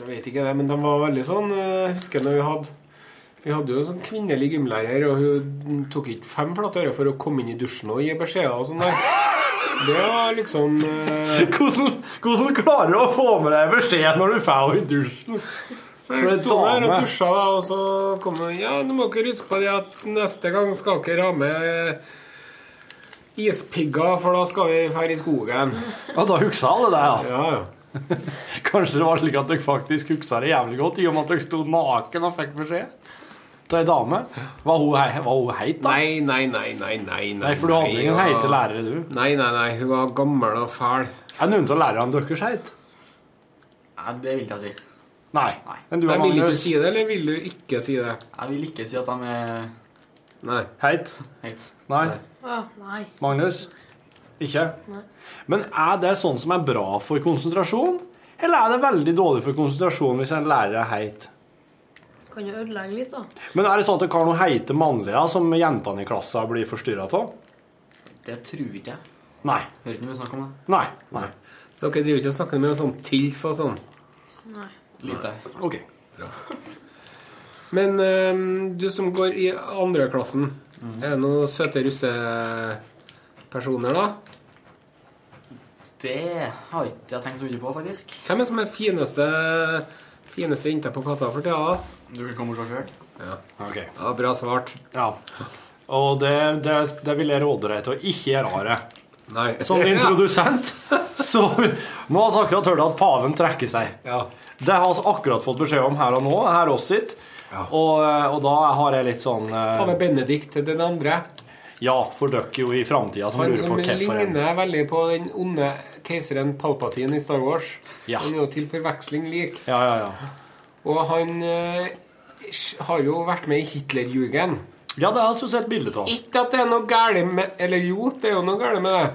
Speaker 2: Jeg vet ikke det, men de var veldig sånn eh, Jeg husker når vi hadde Vi hadde jo en sånn kvinnelig gymlærer, og hun tok ikke fem flate øre for å komme inn i dusjen og gi beskjeder og sånn der. Det var liksom eh,
Speaker 5: Hvordan, hvordan klarer du å få med deg beskjed når du får henne i dusjen?
Speaker 2: Jeg sto der og
Speaker 5: dame.
Speaker 2: dusja, da, og så kom hun Ja, nå må dere huske på det at neste gang skal dere ha med ispigger, for da skal vi dra i skogen.
Speaker 5: Ja, da huksa alle
Speaker 2: da.
Speaker 5: deg,
Speaker 2: Ja, ja.
Speaker 5: Kanskje det var slik at dere faktisk huksa det jævlig godt, i og med at dere sto naken og fikk beskjed? Til ei dame? Var hun, hei- var hun heit, da?
Speaker 2: Nei, nei, nei, nei, nei.
Speaker 5: Nei, for du hadde ingen heite lærere,
Speaker 2: du? Nei, nei, nei. Hun var gammel og fæl.
Speaker 5: Er det noen av lærerne deres heit?
Speaker 15: Nei, det vil jeg si.
Speaker 5: Nei. Men du
Speaker 15: Jeg
Speaker 5: og
Speaker 15: vil ikke
Speaker 5: Magnus
Speaker 15: si
Speaker 2: det, eller vil du ikke si det?
Speaker 15: Jeg vil ikke si at de er
Speaker 2: Nei.
Speaker 5: Heit? Nei.
Speaker 9: Å, nei.
Speaker 5: Magnus? Ikke?
Speaker 9: Nei.
Speaker 5: Men er det sånn som er bra for konsentrasjon? Eller er det veldig dårlig for konsentrasjon hvis en lærer er heit?
Speaker 9: Kan jo ødelegge litt, da.
Speaker 5: Men er det sånn at det kan noe heite mannlige som jentene i klassen blir forstyrra av?
Speaker 15: Det tror ikke jeg.
Speaker 5: Nei.
Speaker 15: Hører ikke noe snakk om det.
Speaker 5: Nei. Nei.
Speaker 2: Så dere driver ikke og snakker med noe sånn TILF og sånn?
Speaker 9: Nei.
Speaker 15: Lite.
Speaker 5: Ok.
Speaker 2: Men ehm, du som går i andreklassen,
Speaker 5: Mm.
Speaker 2: er det noen søte russepersoner, da?
Speaker 15: Det har ikke jeg tenkt så mye på, faktisk.
Speaker 2: Hvem er som er fineste Fineste jenta på katta for tida? da?
Speaker 15: Du kan komme og se sjøl.
Speaker 2: Ja.
Speaker 5: Ok.
Speaker 2: Ja, bra svart.
Speaker 5: Ja. Og det, det, det vil jeg råde deg til å ikke gjøre det.
Speaker 2: Nei.
Speaker 5: Som din produsent. Så nå har vi akkurat hørt at paven trekker seg. Det har vi akkurat fått beskjed om her og nå. Her oss sitt. Og, og da har jeg litt sånn eh,
Speaker 2: Pave Benedikt den andre.
Speaker 5: Ja, for dere jo i framtida som
Speaker 2: Han
Speaker 5: lurer
Speaker 2: som
Speaker 5: på hvorfor en-
Speaker 2: ligner veldig på den onde keiseren Palpatine i Star Wars. Han er jo til forveksling lik.
Speaker 5: Ja, ja, ja.
Speaker 2: Og han eh, har jo vært med i Hitlerjugend.
Speaker 5: Ja, det har jeg sett bilde av.
Speaker 2: Ikke at det er noe galt med Eller jo, det er jo noe galt med det.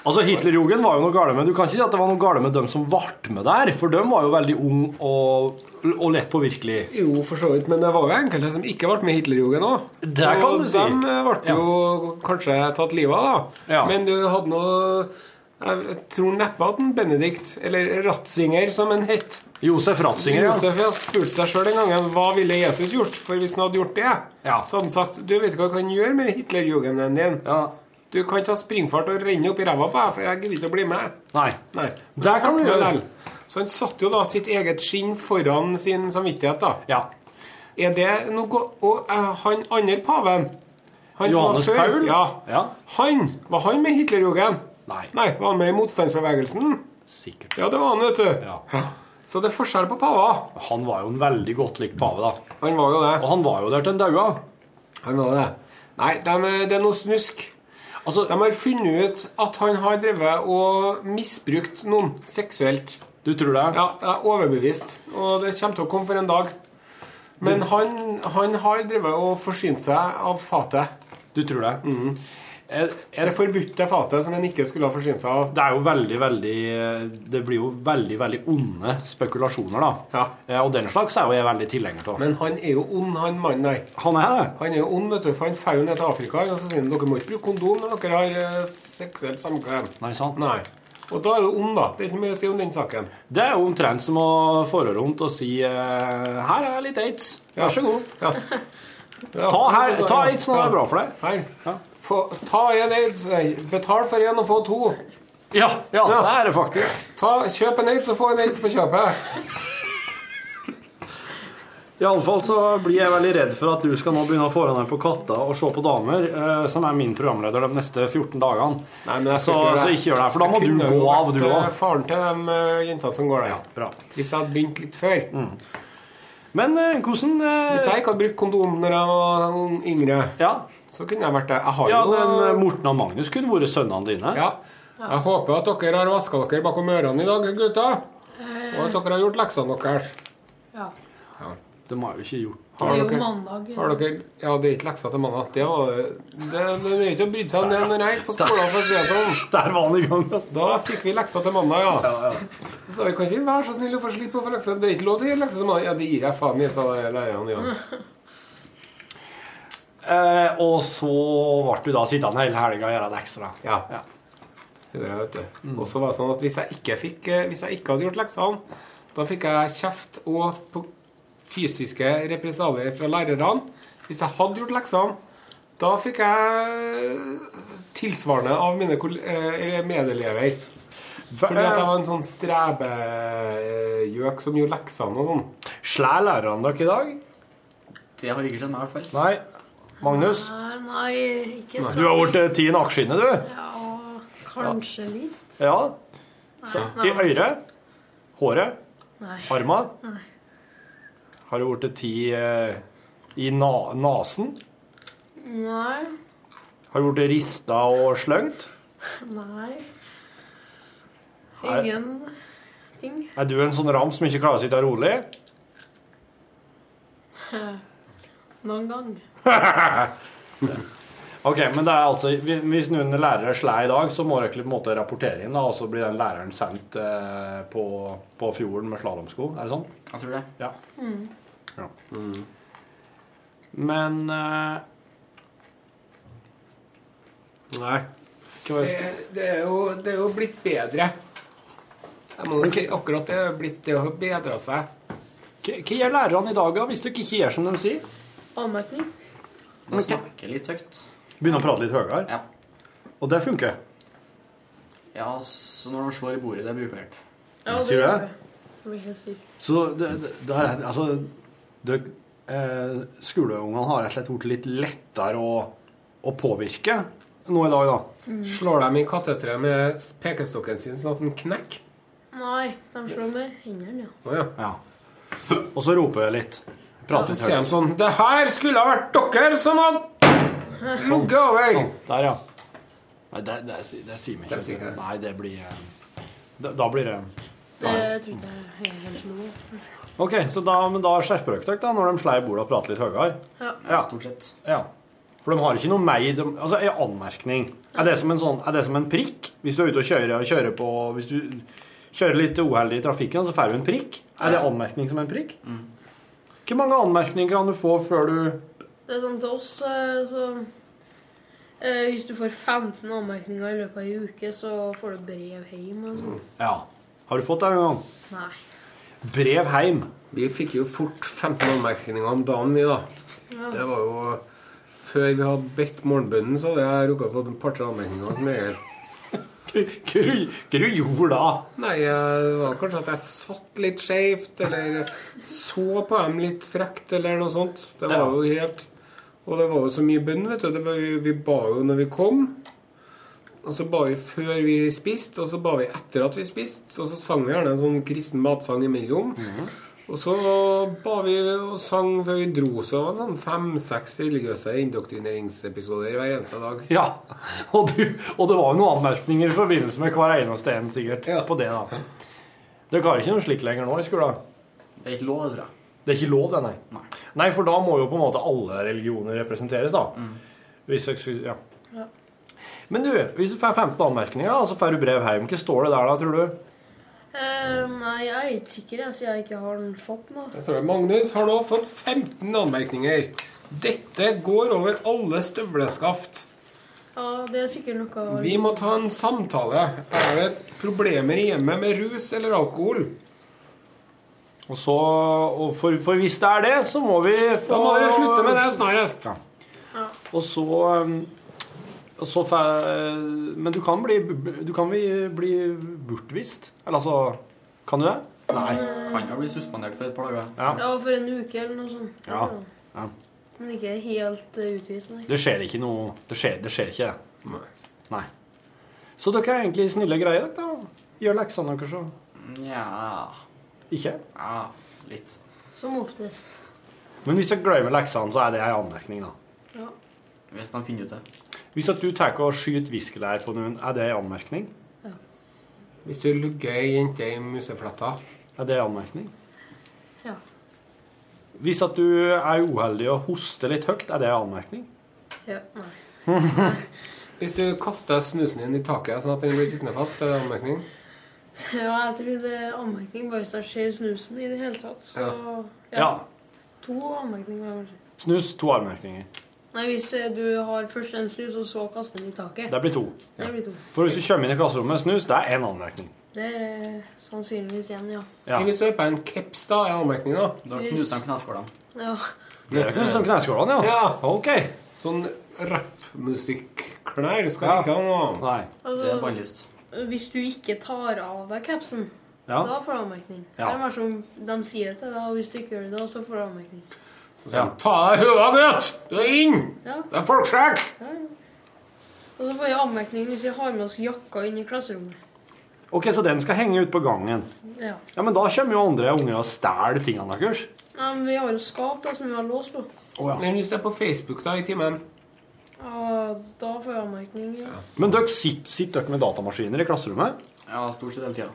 Speaker 5: Altså, Hitlerjugend var jo noe gale med Du kan ikke si at det var noe gale med dem som ble med der, for dem var jo veldig ung og, og lett påvirkelig.
Speaker 2: Jo, for så vidt, men det var jo enkelte som ikke ble med i Hitlerjugend òg.
Speaker 5: Det kan du si.
Speaker 2: De eh, ble jo kanskje tatt livet av, da.
Speaker 5: Ja.
Speaker 2: Men du hadde nå Jeg tror neppe at en Benedikt, eller Ratzinger som en het
Speaker 5: Josef Ratzinger, ja.
Speaker 2: Josef har spurt seg sjøl en gang hva ville Jesus gjort, for hvis han hadde gjort det,
Speaker 5: Ja.
Speaker 2: så hadde han sagt Du vet hva du kan gjøre med Hitlerjugenden din? Du kan ta springfart og renne opp i ræva på deg, for jeg gidder ikke å bli med.
Speaker 5: Nei.
Speaker 2: Nei.
Speaker 5: Der kan du
Speaker 2: Men
Speaker 5: gjøre.
Speaker 2: lell. Så han satte jo da sitt eget skinn foran sin samvittighet, da. Er det noe Og eh, han andre paven han som var
Speaker 5: Johannes
Speaker 2: før,
Speaker 5: Paul?
Speaker 2: Ja.
Speaker 5: Ja.
Speaker 2: Han, Var han med i Hitlerjugend?
Speaker 5: Nei.
Speaker 2: Var han med i motstandsbevegelsen?
Speaker 5: Sikkert.
Speaker 2: Ja, det var han, vet du. Så det er forskjell på paver.
Speaker 5: Han var jo en veldig godt likt pave, da.
Speaker 2: Han var jo det.
Speaker 5: Og han var jo der til han daua.
Speaker 2: Han var det. Nei, dem er- det er noe snusk.
Speaker 5: Altså-
Speaker 2: de har funnet ut at han har drevet og misbrukt noen seksuelt.
Speaker 5: Du tror det?
Speaker 2: Ja, jeg er overbevist. Og det kommer til å komme for en dag. Men han, han har drevet og forsynt seg av fatet.
Speaker 5: Du tror det?
Speaker 2: Det forbudte fatet som en ikke skulle ha forsynt seg av.
Speaker 5: Det er jo veldig, veldig Det blir jo veldig, veldig onde spekulasjoner, da. Eh, Og den slags er jo jeg veldig tilhenger av.
Speaker 2: Men han er jo ond, han mannen der.
Speaker 5: Han er det?
Speaker 2: Han er jo ond, vet du, for han drar jo ned til Afrika og så sier han, dere må ikke bruke kondom når dere har eh, seksuelt samkvem.
Speaker 5: Nei, sant?
Speaker 2: Nei. Og da er du ond, da. Det er ikke mye å si om den saken.
Speaker 5: Det er jo omtrent som å fare rundt og si eh, Her er litt aids. Vær så god. Ta, her, ta aids når det er bra for deg.
Speaker 2: Her. Få, ta en aids. Nei, Betal for en og få to.
Speaker 5: Ja, det er det faktisk.
Speaker 2: Ta, kjøp en aids og få en aids på kjøpet.
Speaker 5: Iallfall så blir jeg veldig redd for at du skal nå begynne å forhandle på katta og se på damer, eh, som er min programleder de neste 14 dagene. så, så ikke gjør det, for da må du gå av, du
Speaker 2: òg.
Speaker 5: òg.
Speaker 2: Faren til de eh, jentene som går der. Hvis jeg hadde begynt litt før.
Speaker 5: Men eh, hvordan
Speaker 2: Hvis jeg ikke hadde brukt kondom når jeg var ung- yngre, så kunne jeg vært det. Jeg har
Speaker 5: Ja,
Speaker 2: jo
Speaker 5: den eh, Morten og Magnus kunne vært sønnene dine.
Speaker 2: Ja. Jeg håper at dere har vaska dere bakom ørene i dag, gutter. Og at dere har gjort leksene deres.
Speaker 9: Ja.
Speaker 5: De har jo ikke gjort
Speaker 9: Det er jo mandag.
Speaker 2: Har dere, ja, det er ikke lekser til mandag. Det var det. Det det er ikke å bry seg om det når jeg gikk på skolen. For å si det sånn.
Speaker 5: Der var han i gang.
Speaker 2: Da fikk vi lekser til mandag, ja. Så sa vi kan vi være så snille å få slippe å få lekser? Det er ikke lov til å gi lekser til mandag. Ja, det gir jeg faen i, sa læreren. Ja.
Speaker 5: Eh, og så ble du da sittende hele helga og gjøre det ekstra.
Speaker 2: Ja. Det gjorde jeg, vet du. Og så var det sånn at hvis jeg ikke, fikk, eh, hvis jeg ikke hadde gjort leksene, da fikk jeg kjeft og på fysiske represalier fra lærerne. Hvis jeg hadde gjort leksene, da fikk jeg tilsvarende av mine koll- eh, eller medelever. Fordi at jeg var en sånn strebegjøk som gjorde leksene og sånn.
Speaker 5: Eh, Slær lærerne dere i dag?
Speaker 15: Det har ikke skjedd meg, i hvert fall.
Speaker 5: Nei. Magnus,
Speaker 9: Nei, nei, ikke så
Speaker 5: du har blitt eh, ti i nakkeskinnet, du.
Speaker 9: Ja, kanskje litt.
Speaker 5: Ja.
Speaker 9: Nei,
Speaker 5: Så,
Speaker 9: nei.
Speaker 5: I øret, håret,
Speaker 9: Nei.
Speaker 5: arma.
Speaker 9: Nei.
Speaker 5: Har du blitt ti eh, i na nasen?
Speaker 9: Nei.
Speaker 5: Har du blitt rista og sløngt?
Speaker 9: Nei.
Speaker 5: Er-
Speaker 9: Ingenting.
Speaker 5: Er du en sånn ram som ikke klarer å sitte rolig?
Speaker 9: Noen gang.
Speaker 5: ok, men det er altså hvi- Hvis noen lærere slår i dag, så må dere på en måte rapportere inn, da, og så blir den læreren sendt eh, på, på fjorden med slalåmsko? Er det sånn?
Speaker 15: Jeg tror det.
Speaker 5: Ja. Ja. Men eh, Nei. Hva var det jeg skulle-
Speaker 2: Det, det, er jo, det er jo blitt bedre. Jeg må jo si akkurat det er blitt det har bedra seg.
Speaker 5: Hva hva gjør lærerne i dag, da, hvis dere ikke gjør som de sier?
Speaker 9: Anmerkning.
Speaker 15: Man snakker litt høyt.
Speaker 5: Begynner å prate litt høyere? Og det funker?
Speaker 15: Ja, så når de slår i bordet, det er brukerhjelp.
Speaker 5: Sier du det?
Speaker 9: Det blir helt sykt.
Speaker 5: Så det, det, det er, altså det, eh, Skoleungene har rett og slett blitt litt lettere å, å påvirke nå i dag, da.
Speaker 2: Mm. Slår dem i kateteret med pekestokken sin sånn at den knekker?
Speaker 9: Nei, de slår med hendene, ja.
Speaker 2: Å ja.
Speaker 5: Og så roper jeg litt.
Speaker 2: Ja, så
Speaker 5: Prater litt
Speaker 2: sier de
Speaker 5: høyt.
Speaker 2: sånn Det her skulle ha vært dere som hadde ligget over!
Speaker 5: Der, ja. Nei, det, det, det sier vi
Speaker 2: Det sier
Speaker 5: ikke. Nei, det blir eh, da, da blir det
Speaker 9: Det tror ikke jeg er helt lov.
Speaker 5: OK, så da, men da skjerper dere dere da, når de slår i bordet og prater litt høyere?
Speaker 9: Ja.
Speaker 5: stort sett. Ja. For de har ikke noe meg de, Altså, en anmerkning. Er det, som en sånn, er det som en prikk? Hvis du er ute og kjører, og kjører på Hvis du kjører litt uheldig i trafikken, så får du en prikk? Er det anmerkning som en prikk? Hvor mange anmerkninger kan du få før du
Speaker 9: Det er sånn til oss, eh, så eh, Hvis du får 15 anmerkninger i løpet av ei uke, så får du brev hjem og sånn.
Speaker 5: Ja. Har du fått det en gang?
Speaker 9: Nei.
Speaker 5: Brev heim.
Speaker 2: Vi fikk jo fort 15 anmerkninger om dagen, vi, da.
Speaker 9: Ja.
Speaker 2: Det var jo Før vi hadde bedt morgenbønnen, så hadde jeg rukket å få et par-tre anmerkninger som Egil.
Speaker 5: Hva du gjorde da?
Speaker 2: Nei, eh, det var kanskje at jeg satt litt skjevt, eller så på dem litt frekt, eller noe sånt. Det var jo helt Og det var jo så mye bønn, vet du. Det var, jo- vi ba jo når vi kom. Og så ba vi før vi spiste, og så ba vi etter at vi spiste. Og så sang vi gjerne en sånn kristen matsang imellom. Og så ba vi og sang før vi dro, så det var sånn fem-seks religiøse indoktrineringsepisoder hver eneste dag.
Speaker 5: Ja. Og, du, og det var jo noen anmerkninger i forbindelse med hver eneste en, sikkert. På det, da. Dere har ikke noe slikt lenger nå i skolen?
Speaker 15: Det er ikke lov, tror jeg.
Speaker 5: Det er ikke lov, det, nei. nei. for da må jo på en måte alle religioner representeres, da.
Speaker 2: Mm.
Speaker 5: Hvis jeg, skulle- ja.
Speaker 9: Ja.
Speaker 5: Men du, hvis du får 15 anmerkninger, da, så får du brev hjem. Hva står det der, da, tror du?
Speaker 9: Eh, nei, jeg er ikke sikker, jeg, siden jeg ikke har den fått nå.
Speaker 2: Der står det Magnus har nå fått 15 anmerkninger. Dette går over alle støvleskaft.
Speaker 9: Ja, det er sikkert noe
Speaker 2: Vi må ta en samtale. Er det problemer i hjemmet med rus eller alkohol?
Speaker 5: Og så, og for, for hvis det er det, så må vi få
Speaker 2: Da må dere slutte med det snarest.
Speaker 5: Og så, um, og så får- eh, Men du kan bli, du kan bli, bli bortvist. Eller altså Kan du det? Nei.
Speaker 15: Kan jo bli suspendert for et par dager.
Speaker 9: Ja, for en uke eller noe sånt.
Speaker 5: Ja. ja.
Speaker 9: Men ikke helt eh, utvist, nei.
Speaker 5: Det skjer ikke noe Det skjer, det skjer ikke, det. Nei. Så dere er egentlig snille og greie, dere. da. Gjør leksene deres og
Speaker 15: Nja
Speaker 5: Ikke?
Speaker 15: Ja, litt.
Speaker 9: Som oftest.
Speaker 5: Men hvis dere glemmer leksene, så er det en anmerkning, da.
Speaker 9: Ja.
Speaker 15: Hvis de finner ut det.
Speaker 5: Hvis at du tar og skyter viskelær på noen, er det en anmerkning?
Speaker 9: Ja.
Speaker 5: Hvis du lugger ei jente i musefletta Er det en anmerkning?
Speaker 9: Ja.
Speaker 5: Hvis at du er uheldig og hoster litt høyt, er det en anmerkning?
Speaker 9: ja. Nei.
Speaker 2: Hvis du kaster snusen din i taket sånn at den blir sittende fast, er det anmerkning?
Speaker 9: Ja, jeg tror det er anmerkning bare hvis det skjer snusen i det hele tatt. Så ja.
Speaker 5: Ja.
Speaker 9: To anmerkninger, kanskje.
Speaker 5: Snus, to anmerkninger.
Speaker 9: Nei, hvis eh, du har først en snus, og så kaster den i taket.
Speaker 5: Det blir to.
Speaker 9: Det blir to.
Speaker 5: For hvis du kommer inn i klasserommet med snus, det er én anmerkning.
Speaker 9: Det er sannsynligvis én, ja.
Speaker 5: Ja.
Speaker 2: Hvis du er på en caps, da, er anmerkning, da?
Speaker 9: Da knuser han
Speaker 2: kneskålene.
Speaker 9: ja.
Speaker 5: Det er ikke sånn kneskålene, ja. Ok.
Speaker 2: Sånn rappmusikklær skal vi ikke ha nå.
Speaker 5: Nei.
Speaker 9: Det er bannlyst. Altså, Hvis du ikke tar av deg capsen,
Speaker 2: Ja.
Speaker 9: da får du anmerkning.
Speaker 2: Ja.
Speaker 9: Det er bare som de sier til deg, og hvis du ikke gjør det, da, så får du anmerkning.
Speaker 2: Ja. Ta av deg høva, gutt! Du er inn!
Speaker 9: Ja.
Speaker 2: Det er folksjekk!
Speaker 9: Ja. Og så får jeg anmerkning hvis jeg har med oss jakka inn i klasserommet.
Speaker 5: Ok, Så den skal henge ut på gangen.
Speaker 9: Ja.
Speaker 5: Ja, Men da kommer jo andre unger og stjeler tingene deres.
Speaker 9: Nei, men vi har jo skap da, som vi har lås på.
Speaker 5: Oh,
Speaker 2: Men hvis du er på Facebook da i timen
Speaker 9: Ja, da får jeg anmerkning. Ja.
Speaker 5: Men dere sitter, sitter dere med datamaskiner i klasserommet?
Speaker 15: Ja, stort sett hele tida.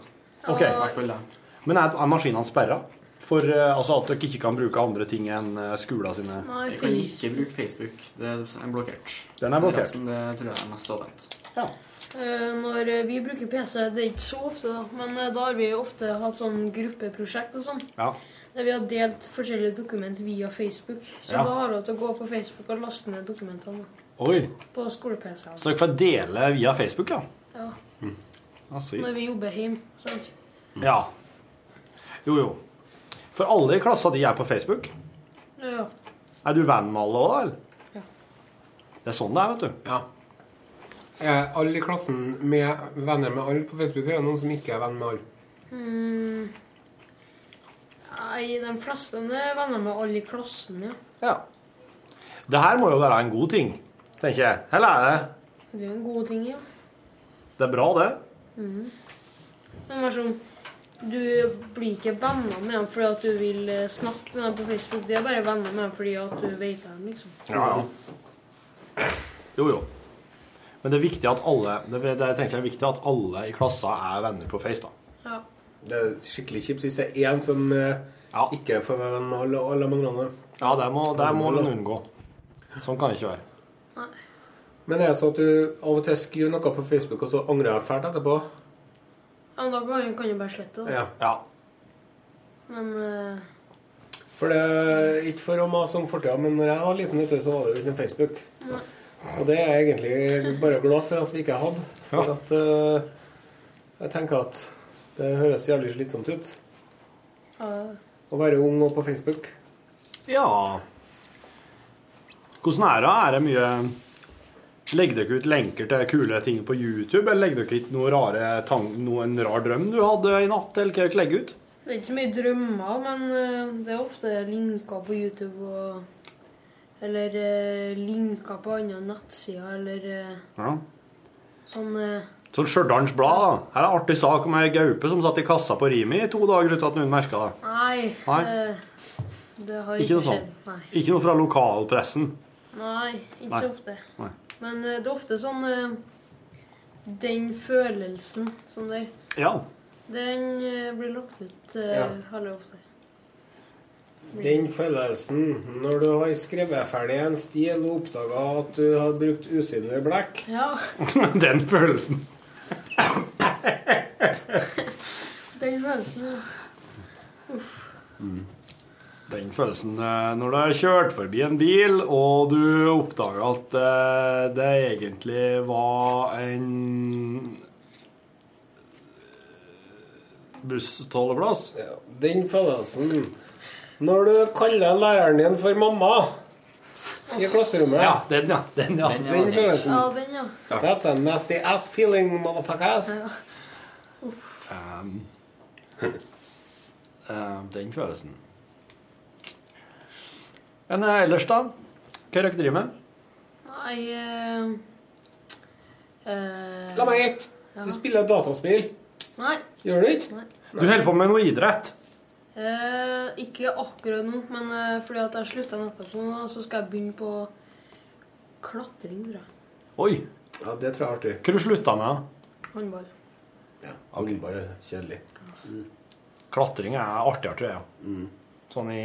Speaker 5: Ok.
Speaker 15: I hvert fall det.
Speaker 5: Men er, er maskinene sperra? For eh, altså at dere ikke kan bruke andre ting enn eh, skolen sine?
Speaker 9: Nei,
Speaker 15: Jeg kan
Speaker 9: Facebook.
Speaker 15: ikke bruke Facebook. Det er blokkert.
Speaker 5: Den er blokkert.
Speaker 15: Resten, det tror jeg er mest åpent.
Speaker 9: Eh, Når eh, vi bruker PC, det er ikke så ofte, da, men eh, da har vi ofte hatt sånn gruppeprosjekt og sånn.
Speaker 5: Ja.
Speaker 9: Der vi har delt forskjellige dokument via Facebook. Så
Speaker 5: Ja.
Speaker 9: da har vi lov til å gå på Facebook og laste ned dokumentene da,
Speaker 5: Oi.
Speaker 9: på skole-PC-en.
Speaker 5: Så dere får dele via Facebook, ja?
Speaker 9: Ja.
Speaker 5: Ja, sykt.
Speaker 9: Når vi jobber hjemme. Sant?
Speaker 5: ja. Jo, jo. For alle i klassa de er på Facebook.
Speaker 9: Ja.
Speaker 5: Er du venn med alle òg, eller?
Speaker 9: Ja.
Speaker 5: Det er sånn det er, vet du.
Speaker 2: Ja. Er Eh, alle i klassen med venner med alle på Facebook? Er det noen som ikke er venn med alle?
Speaker 9: Mm. Nei, de fleste er venner med alle i klassen, ja.
Speaker 5: Ja. Det her må jo være en god ting, tenker jeg. Eller er det?
Speaker 9: Det er jo en god ting, ja.
Speaker 5: Det er bra, det.
Speaker 9: Mhm. Men vær sånn Du blir ikke venner med dem fordi at du vil eh, snakke med dem på Facebook. Det er bare venner med dem fordi at du vet dem, liksom.
Speaker 5: Jo, jo. Men det er viktig at alle det, det, jeg tenker er viktig at alle i klassa er venner på Face, da.
Speaker 9: Ja.
Speaker 2: Det er skikkelig kjipt hvis det er én som eh, ikke får være venn med alle, og alle mange andre.
Speaker 5: Ja, det må, det må en unngå. Sånn kan det ikke være.
Speaker 2: Men er det sånn at du av og til skriver noe på Facebook, og så angrer jeg fælt etterpå?
Speaker 9: Ja, men da kan kan du bare slette det.
Speaker 2: Ja.
Speaker 9: Men eh,
Speaker 2: For det, ikke for å mase om fortida, men når jeg var liten, vet du, så var det jo ikke noe Facebook.
Speaker 9: Nei.
Speaker 2: Og det er jeg egentlig bare glad for at vi ikke hadde. For at eh, jeg tenker at det høres jævlig slitsomt ut
Speaker 9: ja.
Speaker 2: å være ung og på Facebook.
Speaker 5: Ja Hvordan er det? Er det mye Legger dere ut lenker til kule ting på YouTube, eller legger dere ut noe rare tang, noen rar drøm du hadde i natt? eller hva dere legger ut?
Speaker 9: Det er ikke så mye drømmer, men eh, det er ofte linker på YouTube og Eller eh, linker på andre nettsider, eller eh,
Speaker 5: Ja.
Speaker 9: sånn eh,
Speaker 5: Sånn Stjørdals Blad, da. Her er en artig sak om ei gaupe som satt i kassa på Rimi i to dager uten at noen merka det.
Speaker 9: Nei.
Speaker 5: Nei.
Speaker 9: eh, det har
Speaker 5: Ikke
Speaker 9: ikke,
Speaker 5: noe sånn.
Speaker 9: skjedd. Nei.
Speaker 5: Ikke noe fra lokalpressen.
Speaker 9: Nei, ikke
Speaker 5: Nei.
Speaker 9: så ofte.
Speaker 5: Nei.
Speaker 9: Men eh, det er ofte sånn eh, Den følelsen som der,
Speaker 5: Ja.
Speaker 9: den eh, blir lagt ut uh,
Speaker 2: Ja.
Speaker 9: veldig ofte.
Speaker 2: Den følelsen når du har skrevet ferdig en stil og oppdaga at du har brukt usynlig blekk
Speaker 9: Ja,
Speaker 5: Den følelsen.
Speaker 9: den følelsen. ja. Uff.
Speaker 5: Den følelsen eh, når du har kjørt forbi en bil, og du oppdager at eh, det egentlig var en busstolleplass.
Speaker 2: Den følelsen når du kaller læreren din for mamma i klasserommet
Speaker 5: Ja, den, ja. Den, ja.
Speaker 2: Den følelsen.
Speaker 9: Ja, den, ja.
Speaker 2: That's a nasty ass feeling, motherfuckers.
Speaker 9: Ja.
Speaker 5: Um, um, den følelsen. Men eh, ellers, da? Hva er det dere driver med?
Speaker 9: Nei eh, eh,
Speaker 2: La meg gjette.
Speaker 9: Ja.
Speaker 2: Du spiller dataspill.
Speaker 9: Nei.
Speaker 2: Gjør du ikke?
Speaker 5: Du holder på med noe idrett?
Speaker 9: Eh, ikke akkurat nå, men eh, fordi at jeg slutta nettopp nå, så skal jeg begynne på klatring, tror jeg.
Speaker 5: Oi.
Speaker 2: Ja, det tror jeg er artig.
Speaker 5: Hva har du slutta med? da?
Speaker 9: Håndball.
Speaker 2: Okay. Bare kjedelig.
Speaker 5: Klatring er artigere, tror jeg. Sånn i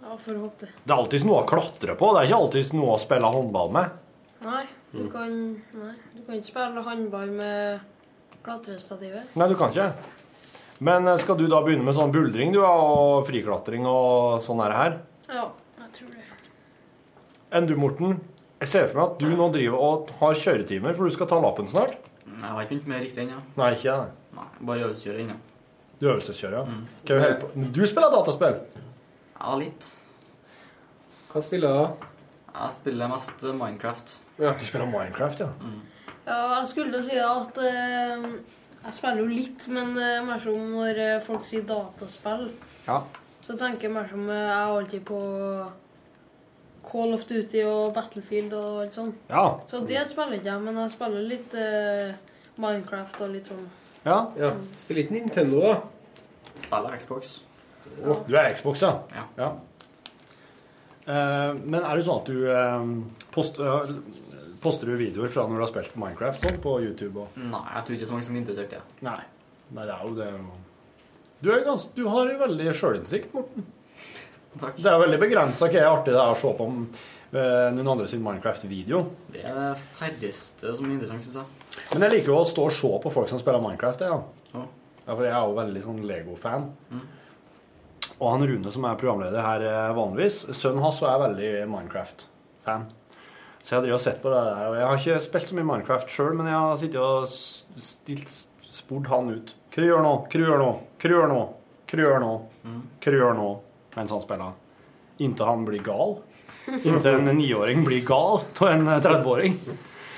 Speaker 9: Ja, får håpe det.
Speaker 5: Det er alltid noe å klatre på. Det er ikke alltid noe å spille håndball med.
Speaker 9: Nei, du
Speaker 5: Mm.
Speaker 9: kan, nei, du kan ikke spille håndball med klatrestativet.
Speaker 5: Nei, du kan ikke. Men eh, skal du da begynne med sånn buldring du, og friklatring og sånn her? her?
Speaker 9: Ja, jeg tror det.
Speaker 5: Enn du, Morten? Jeg ser for meg at du nå driver og har kjøretimer, for du skal ta lappen snart.
Speaker 15: Mm, Jeg har ikke begynt med det riktig ennå.
Speaker 5: Nei, ikke jeg. nei.
Speaker 15: Nei, Bare øvelseskjøre ennå.
Speaker 5: Du øvelseskjører, ja. Hva er du holder på Men Du spiller dataspill?
Speaker 15: Ja, litt.
Speaker 2: Hva spiller du,
Speaker 15: da? Jeg spiller mest eh, Minecraft.
Speaker 2: Ja,
Speaker 5: Du spiller Minecraft, ja?
Speaker 9: Ja, jeg skulle til å si at eh, jeg spiller jo litt, men eh, mer som når eh, folk sier dataspill,
Speaker 5: Ja.
Speaker 9: så tenker jeg mer som eh, jeg er alltid på Call of Duty og Battlefield og alt sånt.
Speaker 5: Ja.
Speaker 9: Så det spiller ikke jeg, men jeg spiller litt eh, Minecraft og litt sånn.
Speaker 5: Ja.
Speaker 2: Spiller ikke Nintendo, da?
Speaker 15: Spiller Xbox.
Speaker 5: Du er Xbox, ja? Ja. Eh, men er det sånn at du eh, post, eh, poster du videoer fra når du har spilt Minecraft sånn på YouTube? Og... Nei, jeg tror ikke det er så mange som er interessert i det. Nei. det er jo det. Du, er gans, du har veldig sjølinnsikt, Morten. Takk. Det er veldig begrensa hva er artig det er å se på om, eh, noen andre sin Minecraft-video.
Speaker 15: Det er det færreste som er interessant, syns jeg.
Speaker 5: Men jeg liker jo å stå og se på folk som spiller Minecraft. jeg, Ja. Ja, for jeg er jo veldig sånn Lego-fan. Og han Rune som er programleder her eh, vanligvis, sønnen hans er veldig Minecraft-fan. Så jeg driver og sett på det der. Og jeg har ikke spilt så mye Minecraft sjøl, men jeg har sittet og s- stilt, spurt han ut. Hva du gjør nå? Hva du gjør nå? Hva du gjør nå? Hva du gjør nå? Hva du gjør nå? Mens han spiller. Inntil han blir gal. Inntil en niåring blir gal av en eh, 30-åring.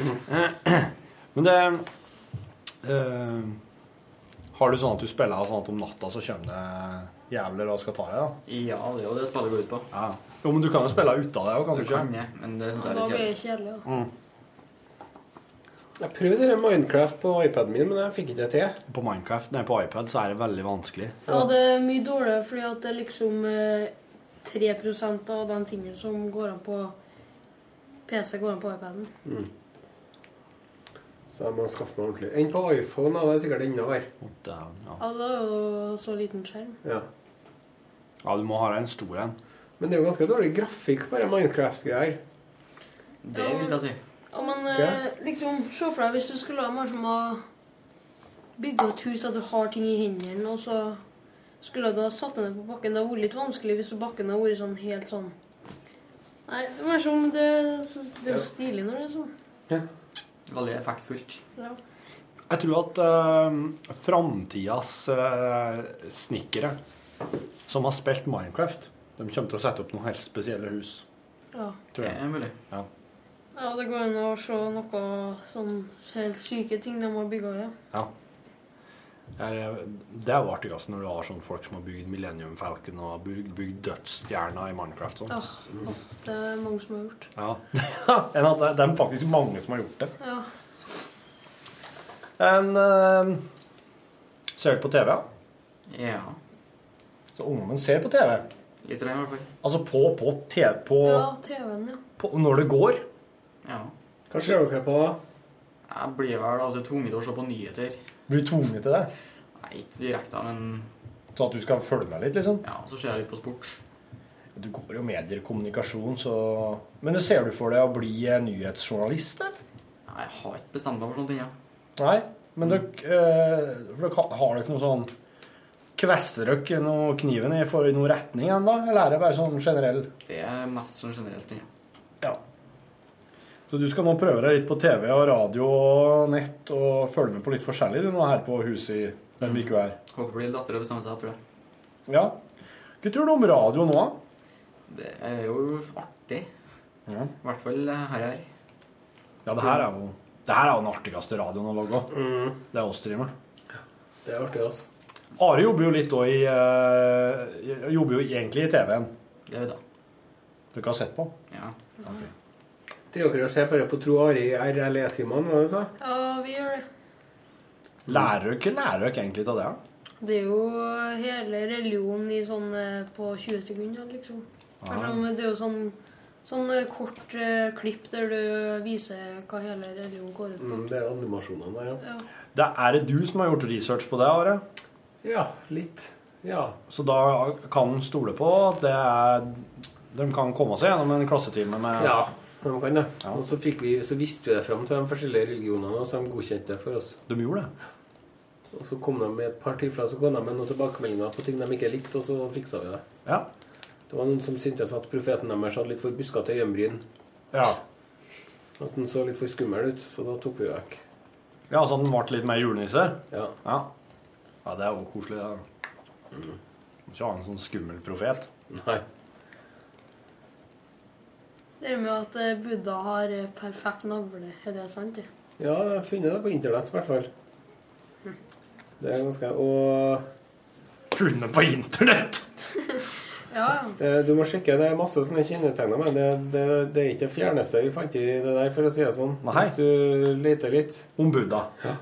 Speaker 5: Eh, Men det eh, Har du sånn at du spiller sånn at om natta så kommer det jævler og skal ta deg? da? Ja, det er jo det spillet går ut på. Jo, Men du kan jo spille ut av det òg, kan du ikke? Kan jeg, men det
Speaker 9: Da blir det kjedelig. da.
Speaker 2: Jeg prøvde det Minecraft på iPaden min, men jeg fikk ikke det til.
Speaker 5: På Minecraft, nei, på iPad så er det veldig vanskelig.
Speaker 9: Ja, det er mye dårligere fordi at det er liksom eh, 3 av den tingen som går an på PC, går an på iPaden.
Speaker 2: Så jeg må skaffe meg ordentlig. Enn på iPhone, da. Det er sikkert enda verre.
Speaker 9: Ja, det er jo så liten skjerm.
Speaker 2: Ja.
Speaker 5: ja, du må ha deg en stor en.
Speaker 2: Men det er jo ganske dårlig grafikk på de Minecraft-greier.
Speaker 9: Det vil jeg si. Ja, men eh, liksom, se for deg hvis du skulle ha mer som å bygge et hus, at du har ting i hendene, og så skulle du ha satt det ned på bakken. Det hadde vært litt vanskelig hvis bakken hadde vært sånn helt sånn Nei, det er mer som Det, det er jo stilig når det er sånn.
Speaker 15: Veldig effektfullt.
Speaker 9: Ja.
Speaker 5: Jeg tror at uh, framtidas eh, snekkere som har spilt Minecraft, de kommer til å sette opp noen helt spesielle hus.
Speaker 9: Ja.
Speaker 5: Tror jeg.
Speaker 15: Det er mulig.
Speaker 5: Ja.
Speaker 9: ja, det går an å se noe sånn helt syke ting de har bygga, ja.
Speaker 5: Ja. Jeg- Det er jo artigast når du har sånne folk som har bygd Millennium Falcon og har bygd, bygd dødsstjerna i Minecraft. Sånn.
Speaker 9: Åh, åh, det er mange som har gjort.
Speaker 5: Ja. Enn at det- det er faktisk mange som har gjort det.
Speaker 9: Ja.
Speaker 5: En, eh, ser du på TV? ja?
Speaker 15: Ja.
Speaker 5: Så ungdommen ser på TV?
Speaker 15: Litt regn, i hvert fall.
Speaker 5: Altså på, på TV på,
Speaker 9: Ja, TV-en, ja.
Speaker 5: på, Når det går?
Speaker 15: Ja.
Speaker 2: Hva ser dere på?
Speaker 15: Jeg blir vel av og til tvunget til å se på nyheter.
Speaker 5: Blir du tvunget til det?
Speaker 15: Nei, ikke direkte, men
Speaker 5: Så at du skal følge med litt, liksom?
Speaker 15: Ja, så ser jeg litt på sport.
Speaker 5: Du går jo medier og kommunikasjon, så Men det ser du for deg å bli eh, nyhetsjournalist, eller?
Speaker 15: Nei, jeg har ikke bestemt meg for sånne ting, jeg.
Speaker 5: Nei, men dere, eh, for dere ha- har dere noe sånn Kvesser dere noe kniven i for i noen retning ennå, eller er det bare sånn generell?
Speaker 15: Det er mest sånn generelt ting, ja.
Speaker 5: Så du skal nå prøve deg litt på TV og radio og nett og følge med på litt forskjellig du nå her på huset i den uka her.
Speaker 15: Håper det blir lettere å bestemme seg, tror jeg.
Speaker 5: Ja. Hva tror du om radio nå? da?
Speaker 15: Det er jo artig.
Speaker 5: Ja.
Speaker 15: I hvert fall eh, her her.
Speaker 5: Ja, det her er jo det her er jo den artigste radioen å logge òg.
Speaker 2: Mm.
Speaker 5: Det er oss streamer.
Speaker 2: Det er artig, altså.
Speaker 5: Are jobber jo litt òg i eh, Jobber jo egentlig i TV-en.
Speaker 15: Det vet jeg.
Speaker 5: Dere har sett på?
Speaker 15: Ja.
Speaker 2: Driver dere og ser bare på Tro Ari i RLE-timene, hva var det du sa?
Speaker 9: ja, vi gjør det.
Speaker 5: Lærer dere hva lærer dere egentlig av det? da?
Speaker 9: Det er jo hele religionen i sånn eh, på 20 sekunder, liksom. For
Speaker 5: Ah.
Speaker 9: sånn, det er jo sånn, sånn eh, kort eh, klipp der du viser hva hele religionen går ut på.
Speaker 2: Mm, det er animasjonene der, ja.
Speaker 9: Ja.
Speaker 5: Det er det du som har gjort research på det, Are?
Speaker 2: Ja, litt. Ja.
Speaker 5: Så da kan en stole på at det er De kan komme seg gjennom en klassetime med
Speaker 2: Ja, de kan det. Og så, fikk vi, så viste vi det fram til de forskjellige religionene, og så de godkjente det for oss.
Speaker 5: De gjorde det.
Speaker 2: Og så kom de med et par tilfeller, så kom de med noen tilbakemeldinger på ting de ikke likte, og så fiksa vi det.
Speaker 5: Ja.
Speaker 2: Det var noen som syntes at profeten deres hadde litt for buskete øyenbryn.
Speaker 5: Ja.
Speaker 2: At den så litt for skummel ut, så da tok vi det vekk.
Speaker 5: Ja, så den ble litt mer julenisse?
Speaker 2: Ja.
Speaker 5: Ja, Mm. ja det er jo koselig. det. Må ikke ha en sånn skummel profet.
Speaker 2: Nei.
Speaker 9: Det med at eh, Buddha har eh, perfekt navle, er det sant? det?
Speaker 2: Ja, jeg har funnet det på internett, i hvert fall. Det er ganske Og
Speaker 5: Funnet på internett?!
Speaker 9: Ja, ja.
Speaker 2: Det, du må sjekke, det er masse sånne kjennetegner, men det, det, det er ikke det fjerneste vi fant i det der, for å si det sånn.
Speaker 5: Nei.
Speaker 2: Hvis du leter litt.
Speaker 5: Om Buddha.
Speaker 2: Ja.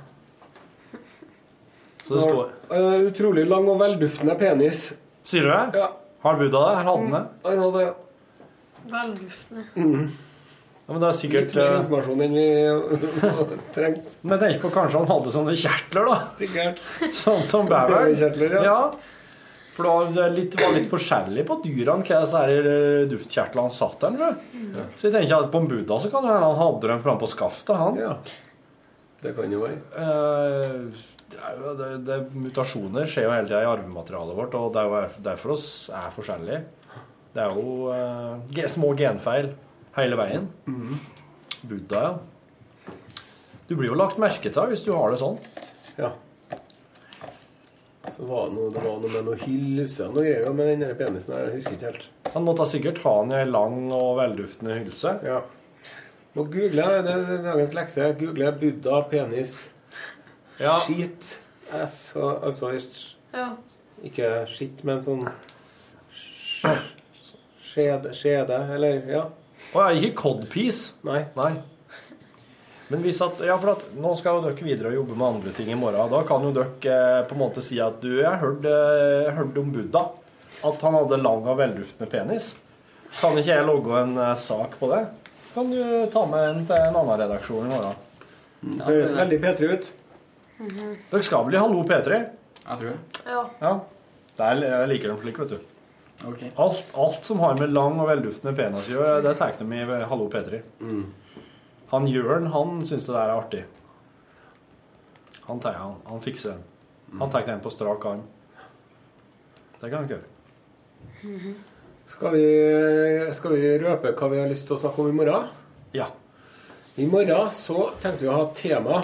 Speaker 5: Så det står
Speaker 2: Eh, utrolig lang og velduftende penis.
Speaker 5: Sier du det?
Speaker 2: Ja.
Speaker 5: Har Buddha det? Her hadde han det?
Speaker 2: Han hadde
Speaker 9: Velluftende.
Speaker 5: Ja, men det er sikkert
Speaker 2: Litt
Speaker 5: eh,
Speaker 2: mer informasjon enn vi trengte.
Speaker 5: Men tenk på kanskje han hadde sånne kjertler, da.
Speaker 2: Sikkert.
Speaker 5: Sånn som bæver.
Speaker 2: Bæverkjertler, ja.
Speaker 5: For da var det litt, var litt forskjellig på dyrene hva disse her eh, duftkjertlene han satt der med.
Speaker 2: Ja.
Speaker 5: Så jeg tenker at på en Buddha så kan det hende han hadde dem framme på skaftet, han.
Speaker 2: Det kan jo være.
Speaker 5: Eh, det er jo- det, det, mutasjoner skjer jo hele tida i arvematerialet vårt, og det er jo derfor oss er forskjellige. Det er jo eh, ge- små genfeil hele veien.
Speaker 2: Mhm.
Speaker 5: Buddha, ja. Du blir jo lagt merke til hvis du har det sånn.
Speaker 2: Ja. Så var det, noe, det var noe med noe hylse og noe greier ja, med den der penisen her. Jeg husker ikke helt.
Speaker 5: Han måtte sikkert ha den i ei lang og velduftende hylse.
Speaker 2: Ja. Må google det. Det er dagens lekse. Google Buddha, penis, skit, ass og- Altså
Speaker 9: Ja.
Speaker 2: ikke skitt, men sånn sk- skjede, skjede eller ja.
Speaker 5: Å ja, ikke codpiece.
Speaker 2: Nei.
Speaker 5: Men hvis at, ja, for at nå skal jo dere videre og jobbe med andre ting i morgen. Da kan jo dere eh, på en måte si at du, jeg hørte, jeg hørte om Buddha. At han hadde lang og velduftende penis. Kan ikke jeg logge en eh, sak på det? Kan du ta med en til en annen redaksjon i morgen?
Speaker 2: Det høres veldig P3 ut.
Speaker 9: Mhm.
Speaker 5: Dere skal vel i Hallo P3?
Speaker 15: Jeg tror det.
Speaker 9: Ja.
Speaker 5: Ja. Der, jeg liker dem slik, vet du. Alt, alt som har med lang og velduftende penis å gjøre, det tar de i eh, Hallo P3. Han Jørn, han syns det der er artig. Han, tar, han, han fikser den. Han tar den på strak arm. Det kan han ikke gjøre.
Speaker 2: Skal vi, skal vi røpe hva vi har lyst til å snakke om i morgen?
Speaker 5: Ja.
Speaker 2: I morgen så tenkte vi å ha et tema.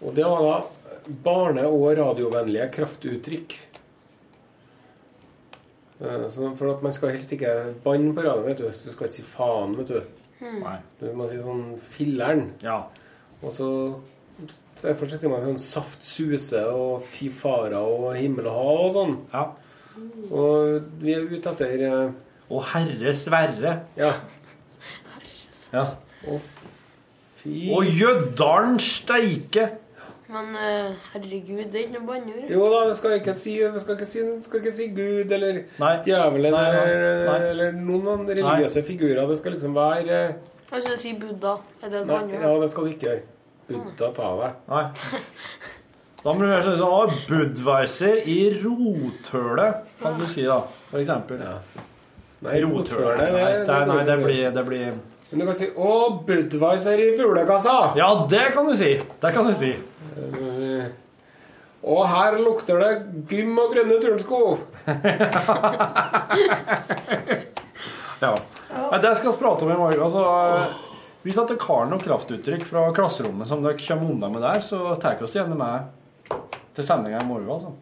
Speaker 2: Og det var da barne- og radiovennlige kraftuttrykk. Eh, Så for at man skal helst ikke banne på radioen, vet du. Du skal ikke si faen, vet du.
Speaker 5: Mm. Nei.
Speaker 2: Du må si sånn filler'n. Og så derfor så sier man sånn saft suse og fy fara og himmel og hav og sånn. Og vi er ute etter eh,
Speaker 5: Å herre sverre.
Speaker 2: Ja.
Speaker 5: ja.
Speaker 2: Og fy
Speaker 5: Å jødalen steike!
Speaker 9: Men eh, herregud, det er ikke noe banneord.
Speaker 2: Jo da, det skal ikke si, det skal ikke si, det skal ikke si Gud eller djevelen
Speaker 5: Nei, nei,
Speaker 2: eller,
Speaker 5: nei.
Speaker 2: eller noen andre religiøse figurer. Det skal liksom være eh,
Speaker 9: Altså, jeg sier Buddha. Er det et
Speaker 2: Nei, ja,
Speaker 9: banneord?
Speaker 2: det skal du ikke gjøre. Buddha ta deg.
Speaker 5: Nei. Da må du være sånn sånn «Å, Budweiser i rothølet, kan du si, da. For eksempel.
Speaker 2: Nei, rothølet, det-
Speaker 5: Nei, det,
Speaker 2: det
Speaker 5: nei, det
Speaker 2: blir-
Speaker 5: blir, det blir
Speaker 2: Men du kan si 'Å, Budwiser i fuglekassa'!
Speaker 5: Ja, det kan du si! Det kan du si.
Speaker 2: Og her lukter det gym og grønne turnsko.
Speaker 5: Ja. Nei, Det skal vi prate om i morgen. Altså, hvis at dere har noen kraftuttrykk fra klasserommet som dere kommer unna med der, så tar dere oss gjerne med til sendinga i morgen. altså.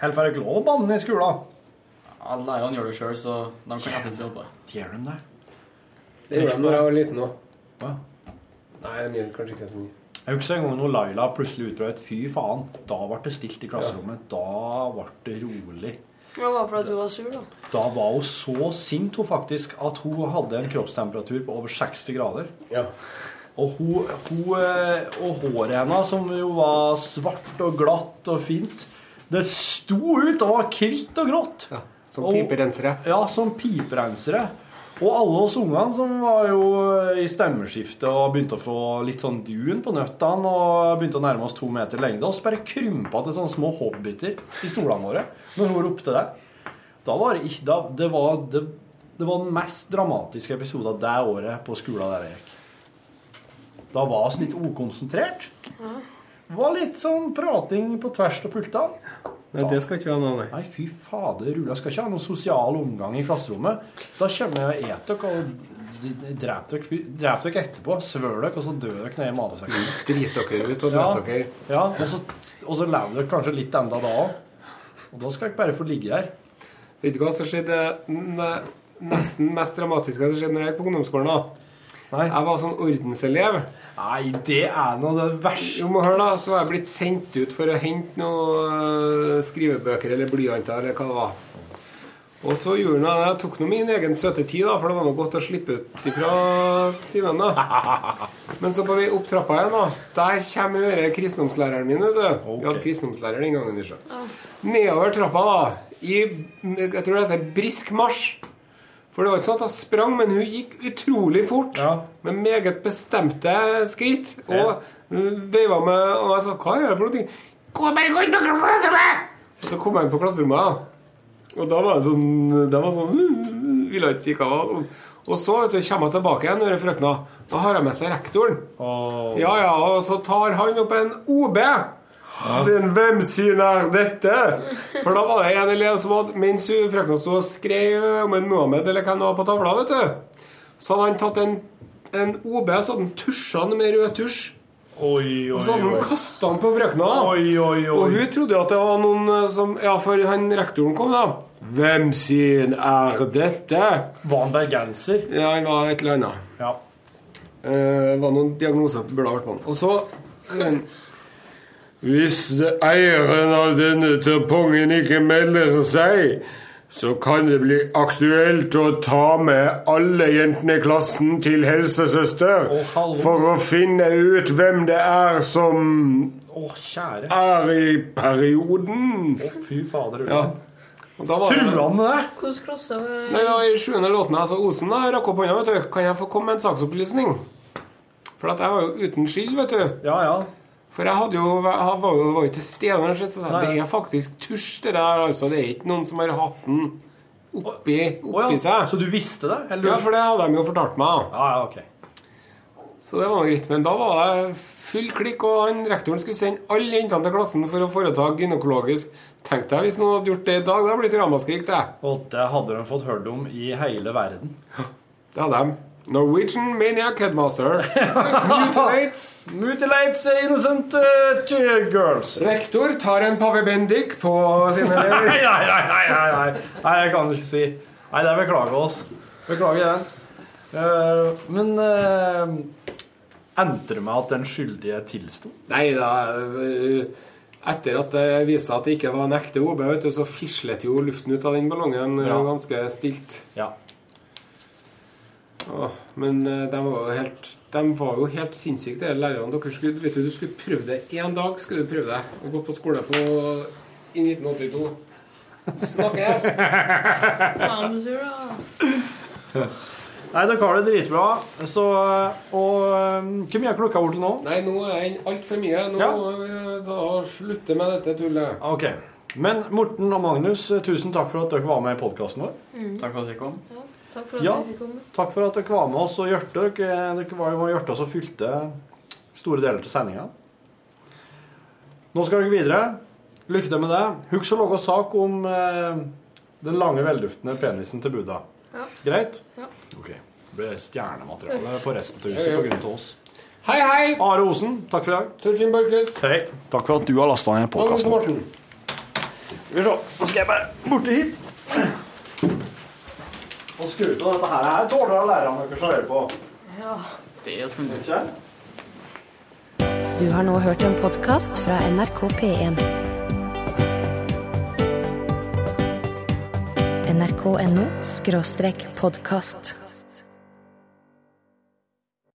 Speaker 5: Eller får dere lov å banne i skolen?
Speaker 15: Alle lærerne gjør det sjøl, så de kan nesten se på det.
Speaker 5: Gjør de det?
Speaker 2: Det gjorde de da jeg var liten òg. Nei, de gjør kanskje ikke så mye.
Speaker 5: Jeg husker en gang når Laila plutselig utbrøt 'fy faen'. Da ble det stilt i klasserommet. Da ble det rolig.
Speaker 9: Det var fordi du var sur, da.
Speaker 5: Da var hun så sint hun faktisk at hun hadde en kroppstemperatur på over 60 grader. Og, hun, hun, eh, og håret hennes, som jo var svart og glatt og fint, det sto ut og var hvitt og grått.
Speaker 2: som
Speaker 5: Og-
Speaker 2: piperensere.
Speaker 5: Ja, som piperensere. Og alle oss ungene som var jo eh, i stemmeskiftet og begynte å få litt sånn dun på nøttene og begynte å nærme oss to meter lengde, oss bare krympa til sånne små hobbiter i stolene våre når hun ropte det. Da var det ikke, da, det, var, det, det var den mest dramatiske episoden det året på skolen der jeg gikk. Da var vi litt ukonsentrert. Det var litt sånn prating på tvers av pultene.
Speaker 2: Nei, det skal ikke vi ha nå, nei.
Speaker 5: Nei, fy fader, Rula skal ikke ha noen sosial omgang i klasserommet. Da kommer jeg og et dere og d- d- drep dere, fy- drep dere etterpå. Svøl dere, og så dør dere nede i magesekken.
Speaker 2: Drit dere ut og drep dere.
Speaker 5: Ja, og så, og så lever dere kanskje litt enda da òg. Og da skal dere bare få ligge der.
Speaker 2: Vet du hva som skjedde ne- nesten mest dramatiske som skjedde når jeg gikk på ungdomsskolen? da? Jeg var sånn ordenselev.
Speaker 5: Nei, det er nå det verste
Speaker 2: Jo, men hør da, Så var jeg blitt sendt ut for å hente noen skrivebøker eller blyanter eller hva det var. Og så gjorde jeg det. Jeg tok nå min egen søte tid, da, for det var nå godt å slippe ut ifra timen. da. Men så på vei opp trappa igjen, da. Der kommer denne kristendomslæreren min. vet du. Vi hadde kristendomslærer den gangen. Ikke? Nedover trappa, da. I jeg tror det heter brisk marsj. For det var ikke sånn at hun sprang, men hun gikk utrolig fort. Med meget bestemte skritt. Og
Speaker 5: Ja.
Speaker 2: hun veiva med Og jeg sa 'Hva er det for noe?' ting?» Gå, bare gå inn på klasserommet! Og så kom jeg inn på klasserommet, da. og da var det sånn Det var sånn «Mm, Ville ikke si hva det var. sånn. Og så vet du, kommer jeg tilbake igjen, denne frøkna. Da har jeg med seg rektoren. Ja, ja, Og så tar han opp en OB. Sin, Hvem sin er dette? For da var det en elev som hadde Mens hun frøkna sto og skrev om en Mohammed eller hvem det var på tavla, vet du, så hadde han tatt en, en OB, så hadde han tusja den med rød tusj.
Speaker 5: Oi,
Speaker 2: Og så hadde han kastet han på frøkna. da. Og hun trodde jo at det var noen eh, som Ja, for han rektoren kom, da. Hvem sin er dette?
Speaker 5: Var han bergenser?
Speaker 2: Ja, han var et eller annet.
Speaker 5: Ja.
Speaker 2: Eh, var noen diagnoser burde ha vært på han. Og så eh, Hvis eieren av denne tampongen ikke melder seg, så kan det bli aktuelt å ta med alle jentene i klassen til helsesøster for å finne ut hvem det er som
Speaker 5: Å, kjære.
Speaker 2: er i perioden.
Speaker 5: Å, fy fader.
Speaker 2: Ja. Og da var det-
Speaker 5: Trua han med det?
Speaker 9: Hvilken klasse var
Speaker 2: Nei, det var I sjuende låten altså Osen da, rakk opp hånda. vet du Kan jeg få komme med en saksopplysning? For at jeg var jo uten skyld, vet du.
Speaker 5: Ja, ja
Speaker 2: For jeg hadde jo jeg var jo var jo til stede når det skjedde. Så jeg sa,
Speaker 5: Nei, ja.
Speaker 2: det er faktisk tusj, det der. altså Det er ikke noen som har hatt den oppi,
Speaker 5: Å,
Speaker 2: oppi
Speaker 5: ja.
Speaker 2: seg.
Speaker 5: Så du visste det? Eller?
Speaker 2: Ja, for det hadde de jo fortalt meg.
Speaker 5: Ja, ja, ok
Speaker 2: Så det var noe greit. Men da var det full klikk, og han rektoren skulle sende alle jentene til klassen for å foreta gynekologisk Tenk deg hvis noen hadde gjort det i dag. Det hadde blitt ramaskrik, det.
Speaker 5: Og det hadde de fått hørt om i hele verden.
Speaker 2: Det hadde de. Norwegian Maniac Headmaster. Mutilates.
Speaker 5: Mutilates innocent eh, t- girls.
Speaker 2: Rektor tar en Pave Bendik på sine
Speaker 5: nei, nei,
Speaker 2: elever.
Speaker 5: nei, nei, nei, nei. Nei, jeg kan ikke si. Nei, det er beklager oss. Beklager den. Eh, men eh, endte det med at den skyldige tilsto?
Speaker 2: Nei da øh, Etter at det viste seg at det ikke var en ekte OB, vet du, så fislet jo luften ut av den ballongen øh,
Speaker 5: Ja.
Speaker 2: ganske stilt.
Speaker 5: Ja.
Speaker 2: Åh, men øh, de var jo helt De var jo helt sinnssyke, de lærerne. Dere skulle, vet du, du skulle prøve det én dag. skulle du prøve deg Å gå på skole på, i 1982. Snakkes!
Speaker 5: Nei, dere har det dritbra. Så, eh, og eh, Hvor mye er klokka borte nå?
Speaker 2: Nei, nå er den altfor mye. Nå øh, da slutter med dette tullet.
Speaker 5: Ok. Men Morten og Magnus, eh, tusen takk for at dere var med i podkasten vår.
Speaker 9: Mm.
Speaker 5: Takk for at dere kom.
Speaker 9: Takk for at
Speaker 5: Ja.
Speaker 9: jeg fikk komme.
Speaker 5: Takk for at dere var med oss og Hjørte. Dere, Eh, dere var jo med Hjørte som fylte store deler til sendinga. Nå skal dere videre. Lykke til med det. Husk å lage sak om eh, den lange, velduftende penisen til Buddha.
Speaker 9: Ja.
Speaker 5: Greit?
Speaker 9: Ja.
Speaker 5: Ok. Det blir stjernemateriale på resten av huset pga. oss.
Speaker 2: Hei, hei!
Speaker 5: Are Osen, takk for i dag.
Speaker 2: Torfinn Borchhus.
Speaker 5: Hei. Takk for at du har lasta ned
Speaker 2: Magnus
Speaker 5: podkasten.
Speaker 2: Morten.
Speaker 5: Skal vi se. Nå skal jeg bare borti hit. Og skru ut av dette her. Her tåler lærerne deres å høre på.
Speaker 9: Ja.
Speaker 5: Det skal du ikke.
Speaker 1: Du har nå hørt en podkast fra NRK P1. NRK.no skråstrek podkast.